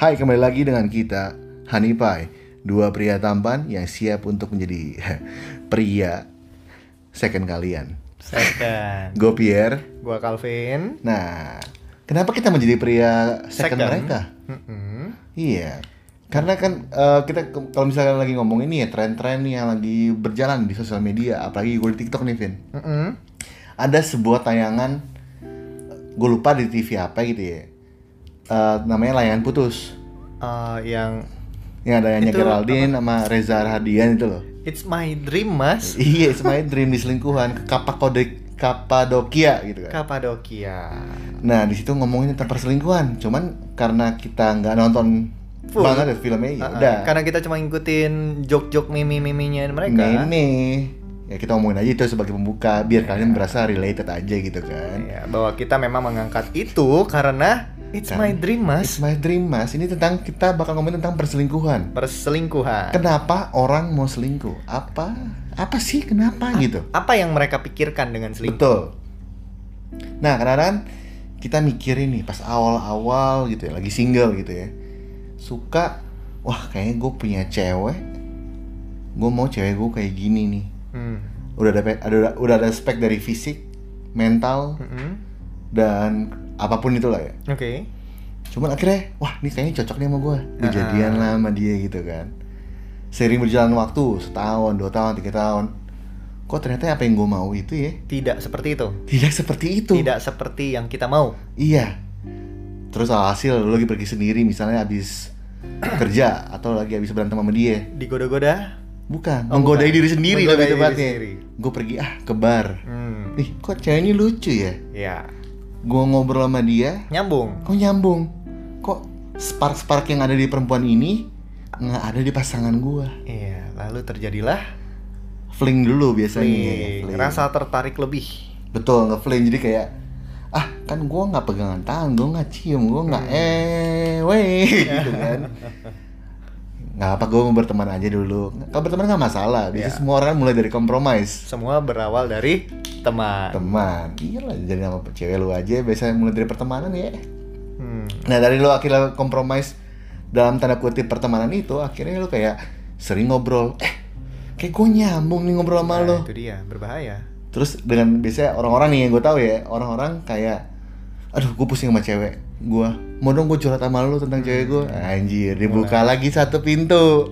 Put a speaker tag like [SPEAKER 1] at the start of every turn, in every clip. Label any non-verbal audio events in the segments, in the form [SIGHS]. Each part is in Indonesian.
[SPEAKER 1] Hai, kembali lagi dengan kita, Honey Pie. Dua pria tampan yang siap untuk menjadi [LAUGHS] pria second kalian.
[SPEAKER 2] Second.
[SPEAKER 1] Gue Pierre.
[SPEAKER 2] Gua Calvin.
[SPEAKER 1] Nah, kenapa kita menjadi pria second,
[SPEAKER 2] Second.
[SPEAKER 1] mereka?
[SPEAKER 2] Mm-mm.
[SPEAKER 1] Iya. Karena kan eh, kita ke- kalau misalkan lagi ngomong ini ya tren-tren yang lagi berjalan di sosial media, apalagi gue di TikTok nih, Vin.
[SPEAKER 2] Mm-mm.
[SPEAKER 1] Ada sebuah tayangan gue lupa di TV apa gitu ya. Eh, namanya layangan putus.
[SPEAKER 2] Eh, yang
[SPEAKER 1] Yang ada Anya
[SPEAKER 2] Itu
[SPEAKER 1] Geraldine sama Reza Rahadian itu loh.
[SPEAKER 2] It's my dream mas.
[SPEAKER 1] Iya, it's my dream diselingkuhan ke Kapadok- Kapadokia gitu kan.
[SPEAKER 2] Kapadokia.
[SPEAKER 1] Nah, di situ ngomongin tentang perselingkuhan. Cuman karena kita nggak nonton
[SPEAKER 2] Full.
[SPEAKER 1] banget ya filmnya, ya
[SPEAKER 2] Uh-uh.
[SPEAKER 1] udah.
[SPEAKER 2] Karena kita cuma ngikutin jok-jok mimi-miminya mereka.
[SPEAKER 1] Meme. Ya kita ngomongin aja itu sebagai pembuka biar kalian merasa related aja gitu kan.
[SPEAKER 2] Ya, bahwa kita memang mengangkat itu karena it's
[SPEAKER 1] Karena
[SPEAKER 2] my dream
[SPEAKER 1] It's
[SPEAKER 2] mas.
[SPEAKER 1] my dream, Mas. Ini tentang kita bakal ngomongin tentang perselingkuhan.
[SPEAKER 2] Perselingkuhan.
[SPEAKER 1] Kenapa orang mau selingkuh? Apa? Apa sih kenapa gitu?
[SPEAKER 2] Apa yang mereka pikirkan dengan selingkuh?
[SPEAKER 1] Betul. Nah, kadang-kadang kita mikirin nih pas awal-awal gitu ya, lagi single gitu ya. Suka, wah kayaknya gue punya cewek. Gue mau cewek gue kayak gini nih.
[SPEAKER 2] Hmm.
[SPEAKER 1] Udah ada pe- ada udah ada spek dari fisik, mental
[SPEAKER 2] Mm-mm.
[SPEAKER 1] dan apapun itulah ya.
[SPEAKER 2] Hmm. Oke.
[SPEAKER 1] Cuman akhirnya, wah ini kayaknya cocok nih sama gue. Gue
[SPEAKER 2] Ah.
[SPEAKER 1] jadian lah sama dia gitu kan. Sering berjalan waktu, setahun, dua tahun, tiga tahun. Kok ternyata apa yang gue mau itu ya
[SPEAKER 2] Tidak seperti itu.
[SPEAKER 1] tidak seperti itu.
[SPEAKER 2] Tidak seperti yang kita mau.
[SPEAKER 1] Iya. Terus alhasil lu lagi pergi sendiri misalnya abis kerja atau lagi abis berantem sama dia.
[SPEAKER 2] Digoda-goda.
[SPEAKER 1] Bukan,
[SPEAKER 2] Oh,
[SPEAKER 1] menggodai
[SPEAKER 2] bukan.
[SPEAKER 1] diri sendiri
[SPEAKER 2] Menggodai
[SPEAKER 1] lebih
[SPEAKER 2] diri
[SPEAKER 1] tepatnya.
[SPEAKER 2] sendiri.
[SPEAKER 1] Gue pergi ah ke bar.
[SPEAKER 2] Hmm.
[SPEAKER 1] Ih, kok cewek ini lucu ya?
[SPEAKER 2] Ya.
[SPEAKER 1] Gue ngobrol sama dia,
[SPEAKER 2] Nyambung.
[SPEAKER 1] kok nyambung? Kok spark-spark yang ada di perempuan ini nggak ada di pasangan gua.
[SPEAKER 2] Iya. Lalu terjadilah
[SPEAKER 1] Fling dulu biasanya. ya,
[SPEAKER 2] Fling. Rasa tertarik lebih.
[SPEAKER 1] Betul, nge-fling jadi kayak ah kan gue nggak pegangan tangan, gue nggak cium, gue nggak eh, weh gitu kan. Nggak apa gue mau berteman aja dulu. Kalau berteman nggak masalah. Biasanya
[SPEAKER 2] Ya.
[SPEAKER 1] semua orang mulai dari kompromis.
[SPEAKER 2] Semua berawal dari teman.
[SPEAKER 1] Teman, iyalah jadi nama cewek lu aja biasanya mulai dari pertemanan ya.
[SPEAKER 2] Hmm.
[SPEAKER 1] Nah dari lu akhirnya kompromis dalam tanda kutip pertemanan itu akhirnya lu kayak sering ngobrol. Eh, kayak gue nyambung nih ngobrol sama
[SPEAKER 2] Nah,
[SPEAKER 1] lu.
[SPEAKER 2] Itu dia, berbahaya.
[SPEAKER 1] Terus dengan biasanya orang-orang nih yang gue tahu ya, orang-orang kayak aduh gue pusing sama cewek gue mau dong gue curhat sama lu tentang cewek gue anjir dibuka lagi satu pintu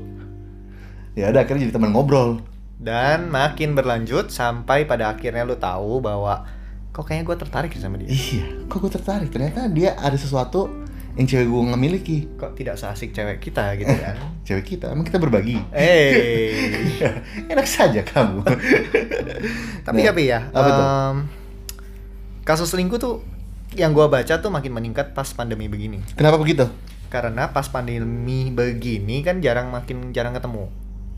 [SPEAKER 1] ya udah akhirnya jadi teman ngobrol
[SPEAKER 2] Dan makin berlanjut sampai pada akhirnya lu tahu bahwa kok kayaknya gue tertarik ya sama dia.
[SPEAKER 1] iya kok gue tertarik ternyata dia ada sesuatu yang cewek gue nggak miliki
[SPEAKER 2] Kok tidak seasik cewek kita gitu
[SPEAKER 1] [LAUGHS]
[SPEAKER 2] kan?
[SPEAKER 1] cewek kita emang kita berbagi [LAUGHS]
[SPEAKER 2] Eh,
[SPEAKER 1] enak saja kamu [LAUGHS] Nah,
[SPEAKER 2] tapi tapi ya,
[SPEAKER 1] apa tuh?
[SPEAKER 2] em, kasus selingkuh tuh yang gua baca tuh makin meningkat pas pandemi begini.
[SPEAKER 1] kenapa begitu
[SPEAKER 2] Karena pas pandemi begini kan jarang makin jarang ketemu.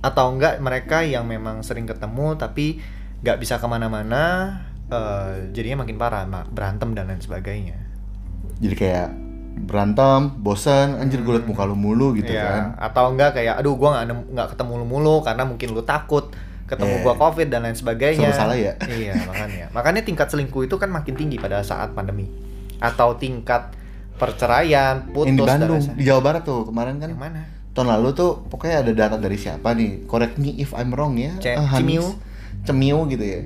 [SPEAKER 2] Atau enggak mereka yang memang sering ketemu tapi nggak bisa kemana-mana, eh, jadinya makin parah, ma- berantem dan lain sebagainya.
[SPEAKER 1] jadi kayak berantem bosan anjir gue liat muka lu mulu gitu
[SPEAKER 2] Iya,
[SPEAKER 1] kan
[SPEAKER 2] Atau enggak kayak, aduh gua nggak nem- nggak ketemu lu mulu karena mungkin lu takut
[SPEAKER 1] Eh,
[SPEAKER 2] ketemu gua covid dan lain sebagainya.
[SPEAKER 1] serba salah ya?
[SPEAKER 2] [LAUGHS] Iya makanya, makanya tingkat selingkuh itu kan makin tinggi pada saat pandemi. Atau tingkat perceraian, putus
[SPEAKER 1] yang di
[SPEAKER 2] dan
[SPEAKER 1] Bandung
[SPEAKER 2] lain sebagainya.
[SPEAKER 1] di Jawa Barat tuh kemarin kan
[SPEAKER 2] Yang mana?
[SPEAKER 1] tahun lalu tuh pokoknya ada data dari siapa nih correct me if I'm wrong ya
[SPEAKER 2] Ce-
[SPEAKER 1] Ah, Hanis.
[SPEAKER 2] Cimiu.
[SPEAKER 1] Cemiu gitu ya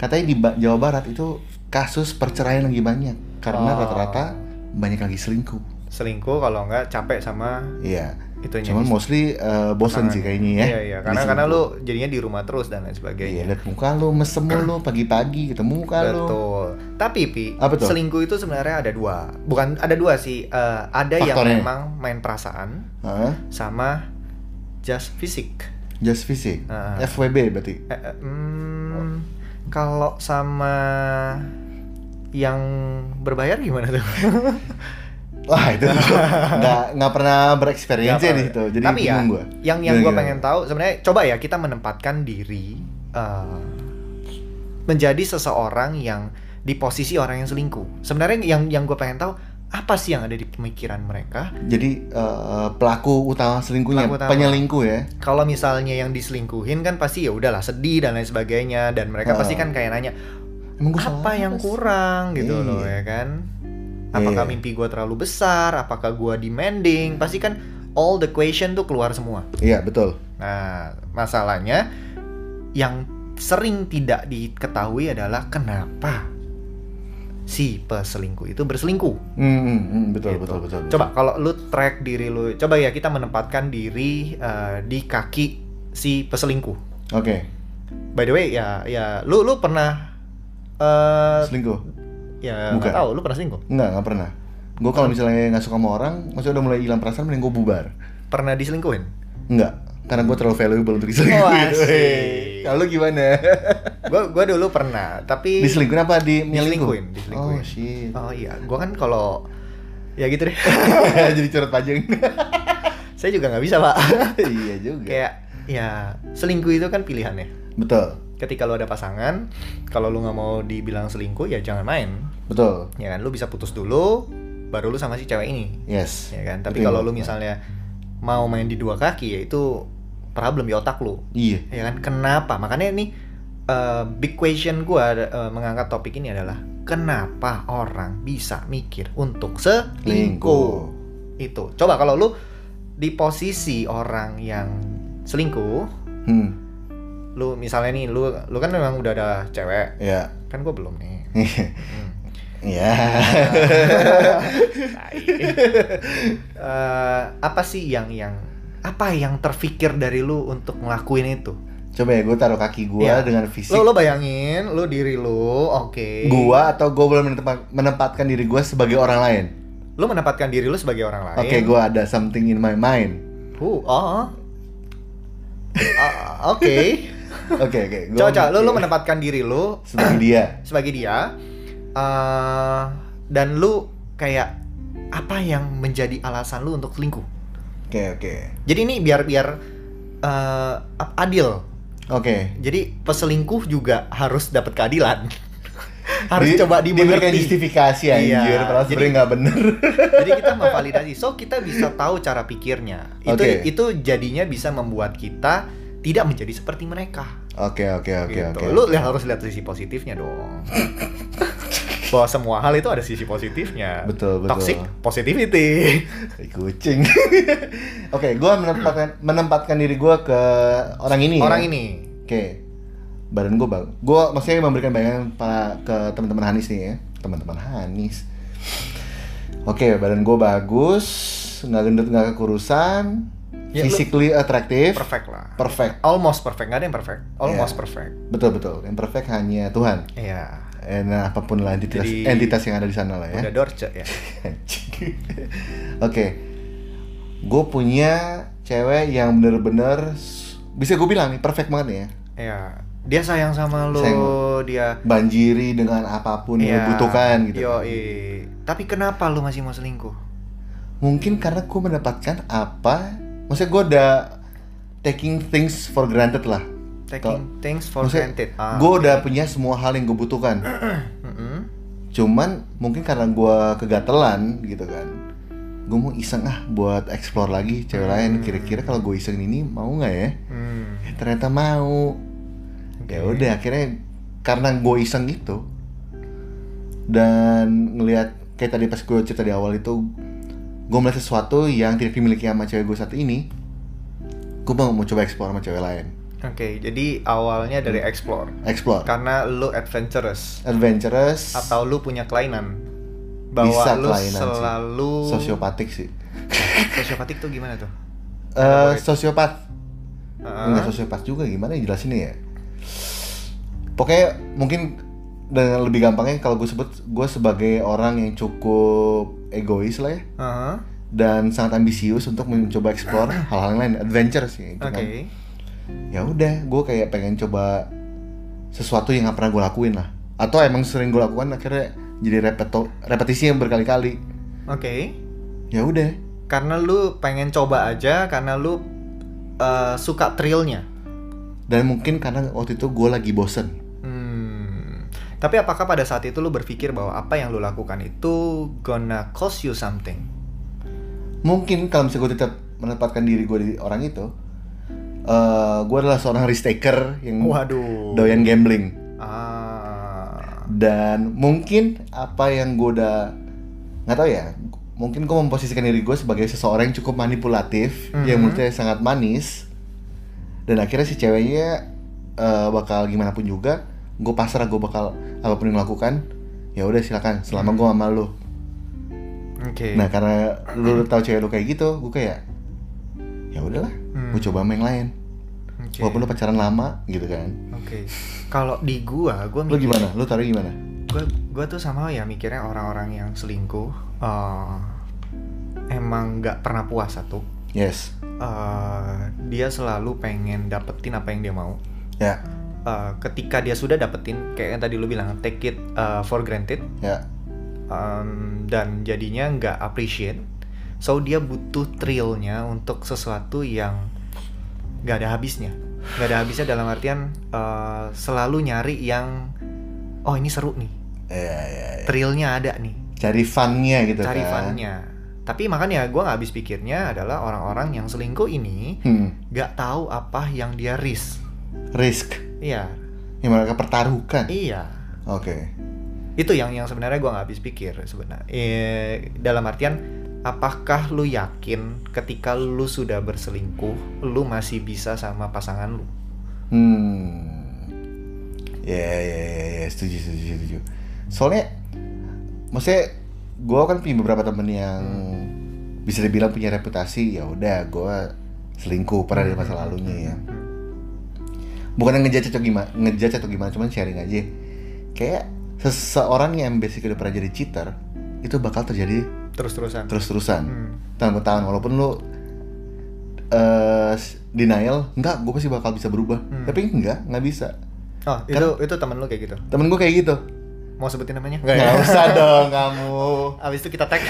[SPEAKER 1] katanya di Ba- Jawa Barat itu kasus perceraian lagi banyak karena
[SPEAKER 2] Oh.
[SPEAKER 1] rata-rata banyak lagi selingkuh
[SPEAKER 2] Selingkuh kalau enggak capek sama
[SPEAKER 1] Iya
[SPEAKER 2] Itunya
[SPEAKER 1] cuman mostly eh, bosen sih kayaknya ya
[SPEAKER 2] Iya iya, karena karena lu jadinya di rumah terus dan lain
[SPEAKER 1] Iya,
[SPEAKER 2] sebagainya.
[SPEAKER 1] liat muka lu, mesem
[SPEAKER 2] [CLEARS THROAT]
[SPEAKER 1] lu, pagi-pagi ketemu muka lu
[SPEAKER 2] Betul. Tapi Pi,
[SPEAKER 1] Apa tuh?
[SPEAKER 2] selingkuh itu sebenarnya ada dua. Bukan ada dua sih. eh, ada yang
[SPEAKER 1] Faktornya.
[SPEAKER 2] memang main perasaan
[SPEAKER 1] Hah?
[SPEAKER 2] sama just fisik.
[SPEAKER 1] Just fisik
[SPEAKER 2] Ah.
[SPEAKER 1] FWB berarti
[SPEAKER 2] Eh, eh, hmm, kalau sama yang berbayar gimana tuh? [LAUGHS]
[SPEAKER 1] Wah itu [LAUGHS] nggak, nggak pernah bereksperiensi
[SPEAKER 2] Nggak
[SPEAKER 1] di
[SPEAKER 2] Iya, apa-
[SPEAKER 1] situ Jadi
[SPEAKER 2] Tapi ya,
[SPEAKER 1] bingung gua. Iya,
[SPEAKER 2] yang yang gue
[SPEAKER 1] Gimana-gimana?
[SPEAKER 2] pengen tahu sebenarnya coba ya kita menempatkan diri eh, menjadi seseorang yang di posisi orang yang selingkuh. Sebenarnya yang yang gue pengen tahu apa sih yang ada di pemikiran mereka?
[SPEAKER 1] Jadi eh, pelaku utama selingkuhnya,
[SPEAKER 2] Pelaku utama.
[SPEAKER 1] penyelingkuh ya.
[SPEAKER 2] Kalau misalnya yang diselingkuhin kan pasti ya udahlah sedih dan lain sebagainya dan mereka pasti
[SPEAKER 1] Ah.
[SPEAKER 2] kan kayak nanya
[SPEAKER 1] Emang gua salah
[SPEAKER 2] apa yang
[SPEAKER 1] sih?
[SPEAKER 2] kurang gitu
[SPEAKER 1] Iya.
[SPEAKER 2] loh ya kan? apakah
[SPEAKER 1] Iya.
[SPEAKER 2] mimpi gue terlalu besar apakah gue demanding pasti kan all the question tuh keluar semua
[SPEAKER 1] Iya betul.
[SPEAKER 2] nah masalahnya yang sering tidak diketahui adalah kenapa si peselingkuh itu berselingkuh
[SPEAKER 1] Hmm, hmm, hmm, betul,
[SPEAKER 2] Gitu.
[SPEAKER 1] betul betul betul.
[SPEAKER 2] Coba kalau lu track diri lu, coba ya kita menempatkan diri eh, di kaki si peselingkuh.
[SPEAKER 1] Oke.
[SPEAKER 2] By the way, ya ya lu lu pernah eh
[SPEAKER 1] Selingkuh?
[SPEAKER 2] ya
[SPEAKER 1] bukan.
[SPEAKER 2] nggak tahu lu pernah selingkuh?
[SPEAKER 1] Enggak, enggak pernah. Gue kalau misalnya nggak suka sama orang, maksudnya udah mulai hilang perasaan, mending gue bubar.
[SPEAKER 2] Pernah diselingkuhin?
[SPEAKER 1] Enggak, karena gue terlalu valuable untuk diselingkuhin.
[SPEAKER 2] Oh, asik.
[SPEAKER 1] Hei, [LAUGHS] Kalau gimana?
[SPEAKER 2] gua gua dulu pernah, tapi
[SPEAKER 1] diselingkuhin apa di
[SPEAKER 2] diselingkuhin,
[SPEAKER 1] nyelingkuh?
[SPEAKER 2] diselingkuhin.
[SPEAKER 1] Oh shit.
[SPEAKER 2] Oh iya, gua kan kalau ya gitu deh.
[SPEAKER 1] [LAUGHS] Jadi curhat panjang.
[SPEAKER 2] [LAUGHS] Saya juga nggak bisa, Pak.
[SPEAKER 1] [LAUGHS]
[SPEAKER 2] [LAUGHS]
[SPEAKER 1] iya juga.
[SPEAKER 2] Kayak ya selingkuh itu kan pilihannya.
[SPEAKER 1] Betul,
[SPEAKER 2] Ketika lu ada pasangan, kalau lu nggak mau dibilang selingkuh ya jangan main.
[SPEAKER 1] betul.
[SPEAKER 2] ya kan lu bisa putus dulu baru lu sama si cewek ini
[SPEAKER 1] Yes.
[SPEAKER 2] ya kan tapi
[SPEAKER 1] Betul.
[SPEAKER 2] kalau lu misalnya mau main di dua kaki ya itu problem di otak lu
[SPEAKER 1] Iya.
[SPEAKER 2] ya kan kenapa makanya ini eh, big question gua eh, mengangkat topik ini adalah kenapa orang bisa mikir untuk selingkuh
[SPEAKER 1] Lingkuh.
[SPEAKER 2] itu coba kalau lu di posisi orang yang selingkuh
[SPEAKER 1] Hmm.
[SPEAKER 2] lu misalnya nih lu lu kan memang udah ada cewek
[SPEAKER 1] Ya. [LAUGHS]
[SPEAKER 2] kan gua belum nih Hmm. [LAUGHS]
[SPEAKER 1] ya.
[SPEAKER 2] Eh, apa sih yang yang apa yang terfikir dari lu untuk ngelakuin itu?
[SPEAKER 1] Coba ya gue taruh kaki gue
[SPEAKER 2] Iya.
[SPEAKER 1] dengan fisik.
[SPEAKER 2] Lu lu bayangin, lu diri lu, oke.
[SPEAKER 1] Gua atau gue boleh menepa- menempatkan diri gue sebagai orang lain.
[SPEAKER 2] Lu menempatkan diri lu sebagai orang lain.
[SPEAKER 1] Oke, gua ada something in my mind.
[SPEAKER 2] Huh, oh. Ah, oke.
[SPEAKER 1] Oke, oke. [LAUGHS] gua-
[SPEAKER 2] Coba coba, lu lu menempatkan diri lu
[SPEAKER 1] sebagai dia.
[SPEAKER 2] sebagai dia eh dan lu kayak apa yang menjadi alasan lu untuk selingkuh?
[SPEAKER 1] Oke, oke.
[SPEAKER 2] Jadi ini biar biar eh, adil
[SPEAKER 1] Oke.
[SPEAKER 2] Jadi peselingkuh juga harus dapat keadilan. [LAUGHS] harus
[SPEAKER 1] Di-
[SPEAKER 2] coba
[SPEAKER 1] diberikan
[SPEAKER 2] dimengerti.
[SPEAKER 1] justifikasi
[SPEAKER 2] Iya,
[SPEAKER 1] anjir, padahal
[SPEAKER 2] jadi-
[SPEAKER 1] sebenarnya nggak bener. [LAUGHS]
[SPEAKER 2] Jadi kita memvalidasi. So kita bisa tahu cara pikirnya. Itu
[SPEAKER 1] Oke.
[SPEAKER 2] itu jadinya bisa membuat kita tidak menjadi seperti mereka.
[SPEAKER 1] Oke, oke, oke,
[SPEAKER 2] gitu.
[SPEAKER 1] oke.
[SPEAKER 2] Lu lihat harus lihat sisi positifnya dong. Bahwa semua hal itu ada sisi positifnya.
[SPEAKER 1] Betul, betul.
[SPEAKER 2] Toxic positivity.
[SPEAKER 1] Eh, Kucing. [LAUGHS] oke, gua menempatkan menempatkan diri gua ke orang ini. ya.
[SPEAKER 2] Orang ini.
[SPEAKER 1] Oke. Badan gua bang. Gua maksudnya memberikan bayangan pa- ke teman-teman Hanis nih ya. Teman-teman Hanis. Oke, badan gua bagus, nggak gendut, nggak kekurusan,
[SPEAKER 2] Ya, lu-
[SPEAKER 1] physically attractive.
[SPEAKER 2] Perfect lah.
[SPEAKER 1] Perfect.
[SPEAKER 2] Almost perfect. Gak ada yang perfect. Almost
[SPEAKER 1] Iya.
[SPEAKER 2] perfect.
[SPEAKER 1] Betul betul. Yang perfect hanya Tuhan.
[SPEAKER 2] Iya.
[SPEAKER 1] Eh, Nah, apapun lah entitas
[SPEAKER 2] Jadi-
[SPEAKER 1] entitas yang ada di sana lah ya.
[SPEAKER 2] Udah dorce ya.
[SPEAKER 1] Anjing. [LAUGHS] Oke. Gue punya cewek yang bener-bener s- bisa gue bilang nih perfect banget nih ya.
[SPEAKER 2] Ya, dia sayang sama lo,
[SPEAKER 1] Sayang.
[SPEAKER 2] dia
[SPEAKER 1] Banjiri dengan apapun yang
[SPEAKER 2] ya,
[SPEAKER 1] dibutuhkan gitu.
[SPEAKER 2] yoi. Tapi kenapa lo masih mau selingkuh?
[SPEAKER 1] Mungkin karena gue mendapatkan apa? Maksudnya gue udah taking things for granted lah.
[SPEAKER 2] Taking things for granted. Ah.
[SPEAKER 1] gue udah punya semua hal yang gue butuhkan.
[SPEAKER 2] Mm-mm.
[SPEAKER 1] cuman mungkin karena gua kegatelan gitu kan gue mau iseng ah buat explore lagi cewek lain kira-kira kalau gue iseng ini mau nggak ya
[SPEAKER 2] Hmm.
[SPEAKER 1] Eh, ternyata mau ya
[SPEAKER 2] Oke.
[SPEAKER 1] udah akhirnya karena gue iseng itu dan ngelihat kayak tadi pas gue cerita di awal itu gue melihat sesuatu yang tidak dimiliki sama cewek gue saat ini gue mau mau coba explore sama cewek lain
[SPEAKER 2] Oke, jadi awalnya
[SPEAKER 1] Hmm.
[SPEAKER 2] dari explore.
[SPEAKER 1] explore
[SPEAKER 2] Karena lo adventurous
[SPEAKER 1] adventurous
[SPEAKER 2] atau lo punya kelainan bahwa
[SPEAKER 1] Bisa
[SPEAKER 2] lo
[SPEAKER 1] kelainan sih.
[SPEAKER 2] selalu [COUGHS]
[SPEAKER 1] sosiopatik sih
[SPEAKER 2] sosiopatik tuh gimana tuh?
[SPEAKER 1] eh sosiopat
[SPEAKER 2] Ah.
[SPEAKER 1] Enggak sosiopat juga gimana ya jelasinnya ya Pokoknya mungkin dengan lebih gampangnya kalau gue sebut gue sebagai orang yang cukup egois lah ya
[SPEAKER 2] Ah.
[SPEAKER 1] dan sangat ambisius untuk mencoba explore
[SPEAKER 2] [CLEARS THROAT]
[SPEAKER 1] hal-hal yang lain adventure sih gitu
[SPEAKER 2] Oke.
[SPEAKER 1] kan. ya udah gue kayak pengen coba sesuatu yang gak pernah gue lakuin lah atau emang sering gue lakukan akhirnya jadi repeto repetisi yang berkali-kali
[SPEAKER 2] Oke.
[SPEAKER 1] ya udah
[SPEAKER 2] Karena lu pengen coba aja karena lu eh, suka thrillnya.
[SPEAKER 1] dan mungkin karena waktu itu gue lagi bosen
[SPEAKER 2] Hmm. Tapi apakah pada saat itu lu berpikir bahwa apa yang lu lakukan itu gonna cost you something?
[SPEAKER 1] mungkin kalau misalnya gue tetap menempatkan diri gue di orang itu eh gue adalah seorang risk taker yang
[SPEAKER 2] Waduh.
[SPEAKER 1] doyan gambling
[SPEAKER 2] Ah.
[SPEAKER 1] dan mungkin apa yang gue udah nggak tahu ya mungkin gue memposisikan diri gue sebagai seseorang yang cukup manipulatif
[SPEAKER 2] Mhm.
[SPEAKER 1] yang menurut saya sangat manis dan akhirnya si ceweknya eh, bakal gimana pun juga gue pasrah gue bakal apapun yang lakukan ya udah silakan selama gue
[SPEAKER 2] Mhm.
[SPEAKER 1] sama lu
[SPEAKER 2] Oke.
[SPEAKER 1] nah karena lu tahu cewek lu kayak gitu gue kayak ya udahlah
[SPEAKER 2] Hmm.
[SPEAKER 1] gue coba sama yang lain
[SPEAKER 2] Oke.
[SPEAKER 1] walaupun lu pacaran lama gitu kan
[SPEAKER 2] Oke. Kalau di gua, gua
[SPEAKER 1] lu
[SPEAKER 2] mikir-
[SPEAKER 1] gimana lu taruh gimana
[SPEAKER 2] Gua gua tuh sama ya mikirnya orang-orang yang selingkuh eh, emang nggak pernah puas satu.
[SPEAKER 1] yes
[SPEAKER 2] Eh, dia selalu pengen dapetin apa yang dia mau.
[SPEAKER 1] ya
[SPEAKER 2] Eh, ketika dia sudah dapetin, kayak yang tadi lu bilang take it eh, for granted
[SPEAKER 1] ya
[SPEAKER 2] em, dan jadinya nggak appreciate. So dia butuh thrillnya untuk sesuatu yang nggak ada habisnya. Nggak ada habisnya dalam artian eh, selalu nyari yang oh ini seru nih,
[SPEAKER 1] ya ya, ya.
[SPEAKER 2] thrillnya ada nih,
[SPEAKER 1] cari funnya gitu
[SPEAKER 2] cari
[SPEAKER 1] kan
[SPEAKER 2] funnya. Tapi makanya gue nggak habis pikirnya adalah orang-orang yang selingkuh ini
[SPEAKER 1] hmm.
[SPEAKER 2] nggak tahu apa yang dia risk.
[SPEAKER 1] risk
[SPEAKER 2] Iya,
[SPEAKER 1] yang mereka pertaruhkan oke
[SPEAKER 2] iya. Itu yang yang sebenarnya gua nggak habis pikir sebenarnya. Eh, dalam artian, apakah lu yakin ketika lu sudah berselingkuh, lu masih bisa sama pasangan lu?
[SPEAKER 1] hmm ya ya ya ya setuju setuju setuju soalnya maksudnya gue kan punya beberapa temen yang bisa dibilang punya reputasi ya udah gue selingkuh pernah di masa lalunya ya bukan yang ngejudge atau gimana ngejudge atau gimana cuman sharing aja kayak seseorang yang basically udah pernah jadi cheater itu bakal terjadi
[SPEAKER 2] Terus-terusan.
[SPEAKER 1] terus-terusan
[SPEAKER 2] Hmm.
[SPEAKER 1] tahun ke tahun walaupun lu eh denial enggak gue pasti bakal bisa berubah
[SPEAKER 2] Hmm.
[SPEAKER 1] tapi enggak nggak bisa
[SPEAKER 2] Oh, itu itu temen lu kayak gitu.
[SPEAKER 1] temen gue kayak gitu
[SPEAKER 2] Mau sebutin namanya? Nggak ya?
[SPEAKER 1] nggak
[SPEAKER 2] [LAUGHS]
[SPEAKER 1] usah dong kamu
[SPEAKER 2] Abis itu kita tag.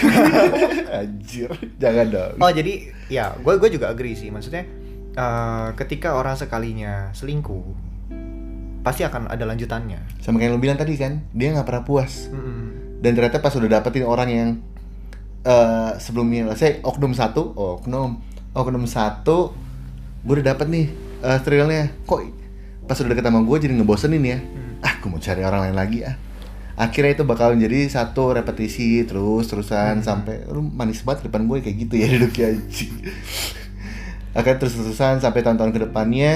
[SPEAKER 2] [LAUGHS]
[SPEAKER 1] anjir jangan dong
[SPEAKER 2] oh, jadi ya, gue gue juga agree sih. Maksudnya eh, ketika orang sekalinya selingkuh, pasti akan ada lanjutannya.
[SPEAKER 1] sama kayak yang lu bilang tadi kan dia nggak pernah puas
[SPEAKER 2] Mm-mm.
[SPEAKER 1] dan ternyata pas udah dapetin orang yang eh sebelumnya saya oknum satu oknum oknum satu gue udah dapet nih eh thrillnya kok pas udah deket sama gue jadi ngebosenin ya ah gue mau cari orang lain lagi ah akhirnya itu bakal menjadi satu repetisi terus terusan sampai lu manis banget di depan gue kayak gitu ya duduknya anjing akhirnya terus terusan sampai tahun-tahun kedepannya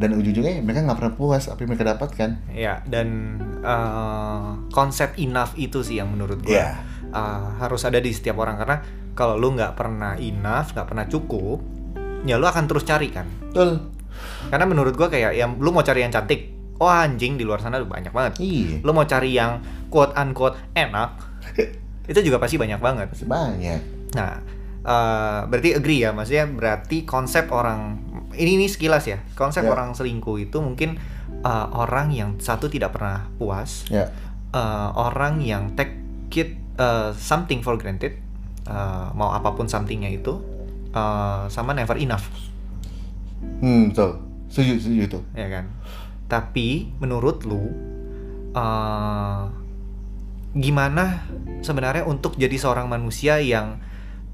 [SPEAKER 1] dan ujung-ujungnya mereka nggak pernah puas apa yang mereka dapatkan
[SPEAKER 2] Ya, dan eh, konsep enough itu sih yang menurut gue
[SPEAKER 1] Iya.
[SPEAKER 2] harus ada di setiap orang karena kalau lu nggak pernah enough, nggak pernah cukup, ya lu akan terus cari kan.
[SPEAKER 1] betul
[SPEAKER 2] Karena menurut gue kayak yang lu mau cari yang cantik, oh anjing di luar sana banyak banget.
[SPEAKER 1] iya
[SPEAKER 2] [LAUGHS] Lu mau cari yang quote unquote enak, itu juga pasti banyak banget.
[SPEAKER 1] masih banyak
[SPEAKER 2] Nah, eh, berarti agree ya, maksudnya berarti konsep orang ini ini sekilas ya, konsep
[SPEAKER 1] Ya.
[SPEAKER 2] orang selingkuh itu mungkin eh, orang yang satu tidak pernah puas,
[SPEAKER 1] ya
[SPEAKER 2] eh, orang yang take it eh, something for granted, eh, mau apapun somethingnya itu, eh, sama never enough,
[SPEAKER 1] Hmm, betul. Setuju, setuju tuh.
[SPEAKER 2] ya kan? Tapi menurut lu, eh, gimana sebenarnya untuk jadi seorang manusia yang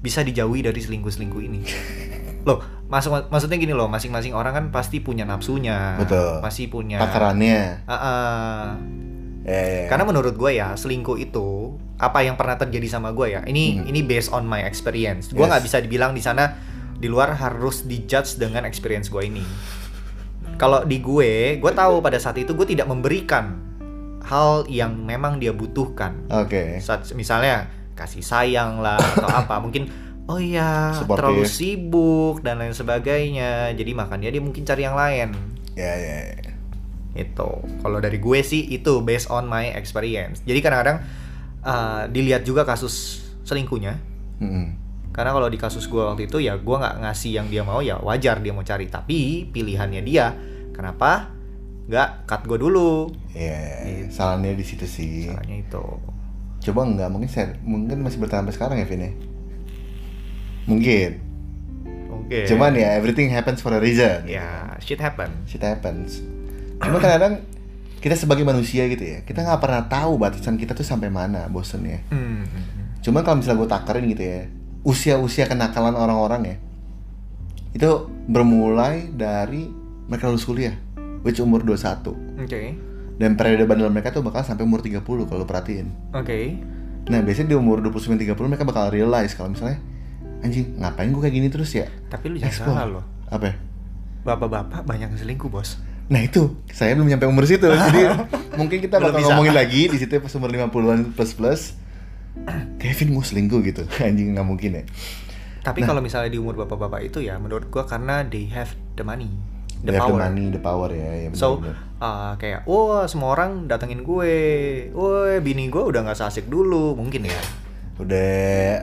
[SPEAKER 2] bisa dijauhi dari selingkuh-selingkuh ini? [LAUGHS] Loh, maksud maksudnya gini loh, masing-masing orang kan pasti punya nafsunya,
[SPEAKER 1] Betul.
[SPEAKER 2] masih punya.
[SPEAKER 1] Takarannya.
[SPEAKER 2] Ah, ah.
[SPEAKER 1] Ya, ya, ya.
[SPEAKER 2] Karena menurut gue ya selingkuh itu apa yang pernah terjadi sama gue ya. Ini
[SPEAKER 1] Hmm.
[SPEAKER 2] ini based on my experience. Gue
[SPEAKER 1] Yes.
[SPEAKER 2] nggak bisa dibilang di sana di luar harus dijudge dengan experience gue ini. Kalau di gue, gue tahu pada saat itu gue tidak memberikan hal yang memang dia butuhkan.
[SPEAKER 1] Oke.
[SPEAKER 2] Saat misalnya kasih sayang lah
[SPEAKER 1] [COUGHS]
[SPEAKER 2] atau apa mungkin oh iya
[SPEAKER 1] Supportive.
[SPEAKER 2] terlalu sibuk dan lain sebagainya. Jadi makanya dia mungkin cari yang lain
[SPEAKER 1] Ya, ya, ya.
[SPEAKER 2] itu Gitu. kalau dari gue sih itu based on my experience jadi kadang-kadang uh, dilihat juga kasus selingkuhnya
[SPEAKER 1] Mm-mm.
[SPEAKER 2] karena kalau di kasus gue waktu itu ya gue nggak ngasih yang dia mau ya wajar dia mau cari tapi pilihannya dia kenapa nggak cut gue dulu
[SPEAKER 1] Ya, ya, ya.
[SPEAKER 2] Gitu.
[SPEAKER 1] Salahnya di situ sih.
[SPEAKER 2] Salahnya itu
[SPEAKER 1] Coba enggak mungkin saya mungkin masih bertahan sampai sekarang ya, Vin ya? Mungkin.
[SPEAKER 2] oke
[SPEAKER 1] Cuman ya everything happens for a reason.
[SPEAKER 2] ya shit happen
[SPEAKER 1] Shit happens. Cuma kadang kita sebagai manusia gitu ya, kita nggak pernah tahu batasan kita tuh sampai mana ya. bosennya.
[SPEAKER 2] Hmm.
[SPEAKER 1] Cuman kalau misalnya gue takarin gitu ya, usia-usia kenakalan orang-orang ya, itu bermulai dari mereka lulus kuliah, which umur 21.
[SPEAKER 2] oke
[SPEAKER 1] Dan periode bandel mereka tuh bakal sampai umur 30 kalau lu perhatiin.
[SPEAKER 2] oke
[SPEAKER 1] Nah, biasanya di umur 29-30 mereka bakal realize kalau misalnya anjing, ngapain gue kayak gini terus ya?
[SPEAKER 2] Tapi lu jangan
[SPEAKER 1] Explore.
[SPEAKER 2] salah loh.
[SPEAKER 1] Apa ya?
[SPEAKER 2] Bapak-bapak banyak yang selingkuh, Bos.
[SPEAKER 1] Nah itu, saya belum nyampe umur
[SPEAKER 2] [LAUGHS]
[SPEAKER 1] situ. Jadi mungkin kita
[SPEAKER 2] Belum
[SPEAKER 1] bakal
[SPEAKER 2] bisa.
[SPEAKER 1] ngomongin lagi di situ pas umur 50-an plus
[SPEAKER 2] [CLEARS THROAT]
[SPEAKER 1] plus. Kevin mau selingkuh gitu. [LAUGHS] Anjing nggak mungkin ya.
[SPEAKER 2] Tapi kalau misalnya di umur bapak-bapak itu ya menurut gua karena they have the money, the
[SPEAKER 1] They have
[SPEAKER 2] power.
[SPEAKER 1] The money, the power ya. ya
[SPEAKER 2] So
[SPEAKER 1] bener-bener.
[SPEAKER 2] uh, kayak wah semua orang datengin gue. Woi, bini gue udah nggak seasik dulu mungkin ya.
[SPEAKER 1] udah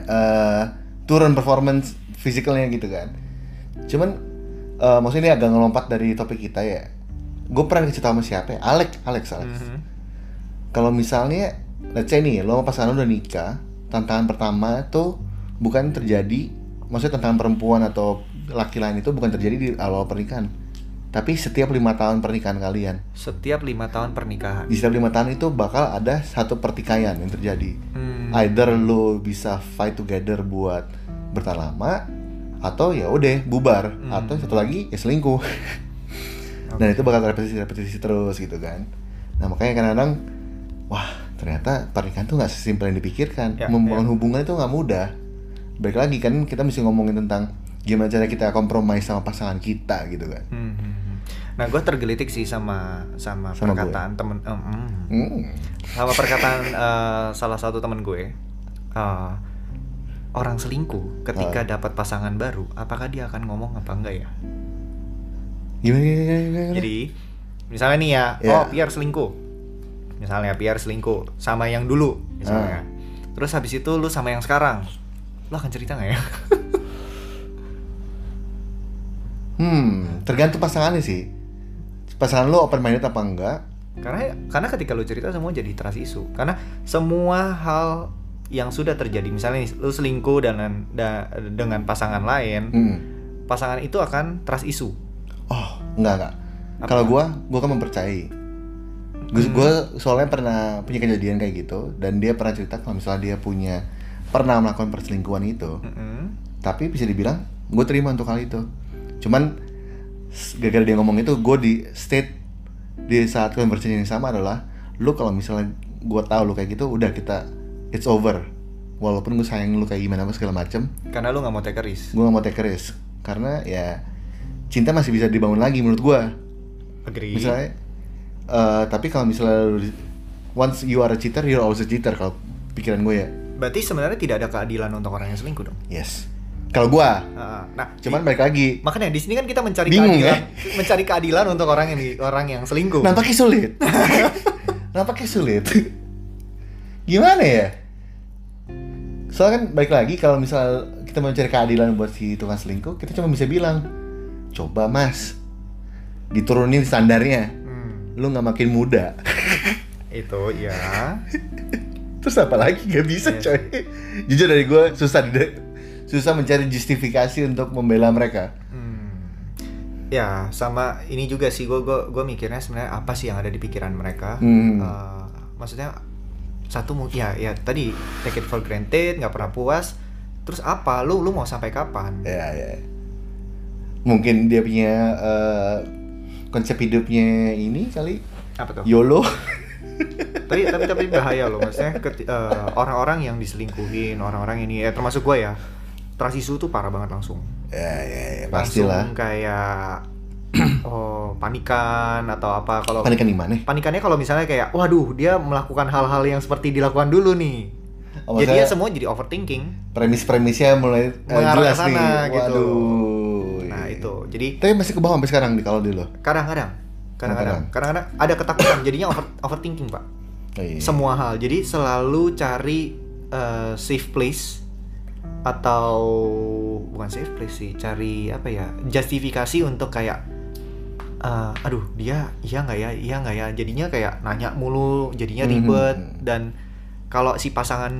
[SPEAKER 1] eh, turun performance fisiknya gitu kan. Cuman eh, maksudnya ini agak ngelompat dari topik kita ya. Gue pernah cerita sama siapa ya? Alex, Alex, Alex.
[SPEAKER 2] Mhm.
[SPEAKER 1] Kalau misalnya, let's say nih, lo sama pasangan lo udah nikah, tantangan pertama tuh bukan terjadi, maksudnya tantangan perempuan atau laki lain itu bukan terjadi di awal pernikahan, tapi setiap lima tahun pernikahan kalian,
[SPEAKER 2] Setiap lima tahun pernikahan.
[SPEAKER 1] di setiap lima tahun itu bakal ada satu pertikaian yang terjadi.
[SPEAKER 2] Hmm.
[SPEAKER 1] Either lo bisa fight together buat bertahan lama, atau ya udah bubar,
[SPEAKER 2] Hmm.
[SPEAKER 1] atau satu lagi ya
[SPEAKER 2] [LAUGHS]
[SPEAKER 1] selingkuh. Dan itu bakal repetisi-repetisi terus gitu kan. Nah makanya kadang-kadang, wah ternyata pernikahan tuh nggak sesimpel yang dipikirkan.
[SPEAKER 2] Ya,
[SPEAKER 1] Membangun hubungan itu nggak mudah. Baik lagi kan kita mesti ngomongin tentang gimana cara kita kompromi sama pasangan kita gitu kan.
[SPEAKER 2] Hmm, hmm, hmm. Nah, gue tergelitik sih sama sama,
[SPEAKER 1] Sama gue.
[SPEAKER 2] perkataan temen, em, em.
[SPEAKER 1] Hmm.
[SPEAKER 2] sama perkataan eh, salah satu temen gue. Eh, orang selingkuh ketika
[SPEAKER 1] Ah.
[SPEAKER 2] dapat pasangan baru, apakah dia akan ngomong apa enggak ya?
[SPEAKER 1] Gimana, gimana, gimana, gimana?
[SPEAKER 2] Jadi, misalnya nih ya,
[SPEAKER 1] Ya.
[SPEAKER 2] oh Pierre selingkuh, misalnya Pierre selingkuh sama yang
[SPEAKER 1] Ah.
[SPEAKER 2] dulu, misalnya. Terus habis itu lu sama yang sekarang, lu akan cerita nggak ya? [LAUGHS]
[SPEAKER 1] Hmm, tergantung pasangannya sih. Pasangan lo open minded apa enggak?
[SPEAKER 2] karena karena ketika lu cerita semua jadi trust isu karena semua hal yang sudah terjadi misalnya nih, lu selingkuh dengan da- dengan pasangan lain
[SPEAKER 1] Hmm.
[SPEAKER 2] pasangan itu akan trust isu
[SPEAKER 1] Oh, enggak enggak.
[SPEAKER 2] Apa?
[SPEAKER 1] Kalau gua, gua kan mempercayai. Gua, gua soalnya pernah punya kejadian kayak gitu dan dia pernah cerita kalau misalnya dia punya pernah melakukan perselingkuhan itu. Tapi bisa dibilang gue terima untuk hal itu. Cuman s- gara-gara dia ngomong itu gue di state di saat conversation yang sama adalah lu kalau misalnya gua tahu lu kayak gitu udah kita it's over walaupun gue sayang lu kayak gimana apa segala macem
[SPEAKER 2] karena lu nggak mau take a risk
[SPEAKER 1] gue gak mau take a risk karena ya cinta masih bisa dibangun lagi menurut gue
[SPEAKER 2] agree
[SPEAKER 1] misalnya eh, tapi kalau misalnya lu- once you are a cheater you're always a cheater kalau pikiran gue ya
[SPEAKER 2] berarti sebenarnya tidak ada keadilan untuk orang yang selingkuh dong
[SPEAKER 1] yes kalau gue
[SPEAKER 2] Ah, nah
[SPEAKER 1] cuman
[SPEAKER 2] di-
[SPEAKER 1] balik lagi
[SPEAKER 2] makanya di sini kan kita mencari
[SPEAKER 1] Bingung, ya?
[SPEAKER 2] keadilan [LAUGHS] mencari keadilan untuk orang yang di- orang yang selingkuh
[SPEAKER 1] nampaknya sulit [LAUGHS] nampaknya sulit gimana ya soalnya kan balik lagi kalau misal kita mau cari keadilan buat si tukang selingkuh kita cuma bisa bilang coba mas diturunin standarnya
[SPEAKER 2] Hmm,
[SPEAKER 1] lu nggak makin muda
[SPEAKER 2] itu ya
[SPEAKER 1] terus apa lagi gak bisa
[SPEAKER 2] Iya
[SPEAKER 1] coy jujur dari gue susah di- susah mencari justifikasi untuk membela mereka
[SPEAKER 2] Hmm. Ya, sama ini juga sih gue gue gue mikirnya sebenarnya apa sih yang ada di pikiran mereka?
[SPEAKER 1] Hmm.
[SPEAKER 2] Eh, maksudnya satu mu- ya ya tadi take it for granted, nggak pernah puas. Terus apa? Lu lu mau sampai kapan?
[SPEAKER 1] ya ya mungkin dia punya eh, konsep hidupnya ini kali
[SPEAKER 2] Apa tuh?
[SPEAKER 1] YOLO
[SPEAKER 2] tapi tapi tapi bahaya loh maksudnya keti- eh, orang-orang yang diselingkuhin, orang-orang ini ya termasuk gue ya. Trust issue tuh parah banget langsung.
[SPEAKER 1] ya
[SPEAKER 2] iya,
[SPEAKER 1] ya, ya
[SPEAKER 2] Langsung
[SPEAKER 1] [LAUGHS] pastilah
[SPEAKER 2] kayak [CLEARS THROAT] oh, panikan atau apa kalau
[SPEAKER 1] panikan di mana
[SPEAKER 2] panikannya kalau misalnya kayak waduh dia melakukan hal-hal yang seperti dilakukan dulu nih
[SPEAKER 1] Oh,
[SPEAKER 2] jadi ya
[SPEAKER 1] maksudnya
[SPEAKER 2] semua jadi overthinking
[SPEAKER 1] premis-premisnya mulai eh,
[SPEAKER 2] Mengarah ke
[SPEAKER 1] jelas
[SPEAKER 2] sana,
[SPEAKER 1] nih
[SPEAKER 2] gitu.
[SPEAKER 1] waduh
[SPEAKER 2] nah
[SPEAKER 1] iya.
[SPEAKER 2] itu jadi
[SPEAKER 1] tapi masih ke bawah sampai sekarang nih kalau di lo
[SPEAKER 2] kadang-kadang kadang-kadang kadang-kadang ada ketakutan jadinya over, overthinking pak
[SPEAKER 1] Oh, iya.
[SPEAKER 2] semua hal jadi selalu cari eh, safe place atau bukan safe place sih cari apa ya justifikasi untuk kayak eh, aduh dia iya nggak ya iya nggak ya jadinya kayak nanya mulu jadinya
[SPEAKER 1] Mhm.
[SPEAKER 2] ribet dan kalau si pasangan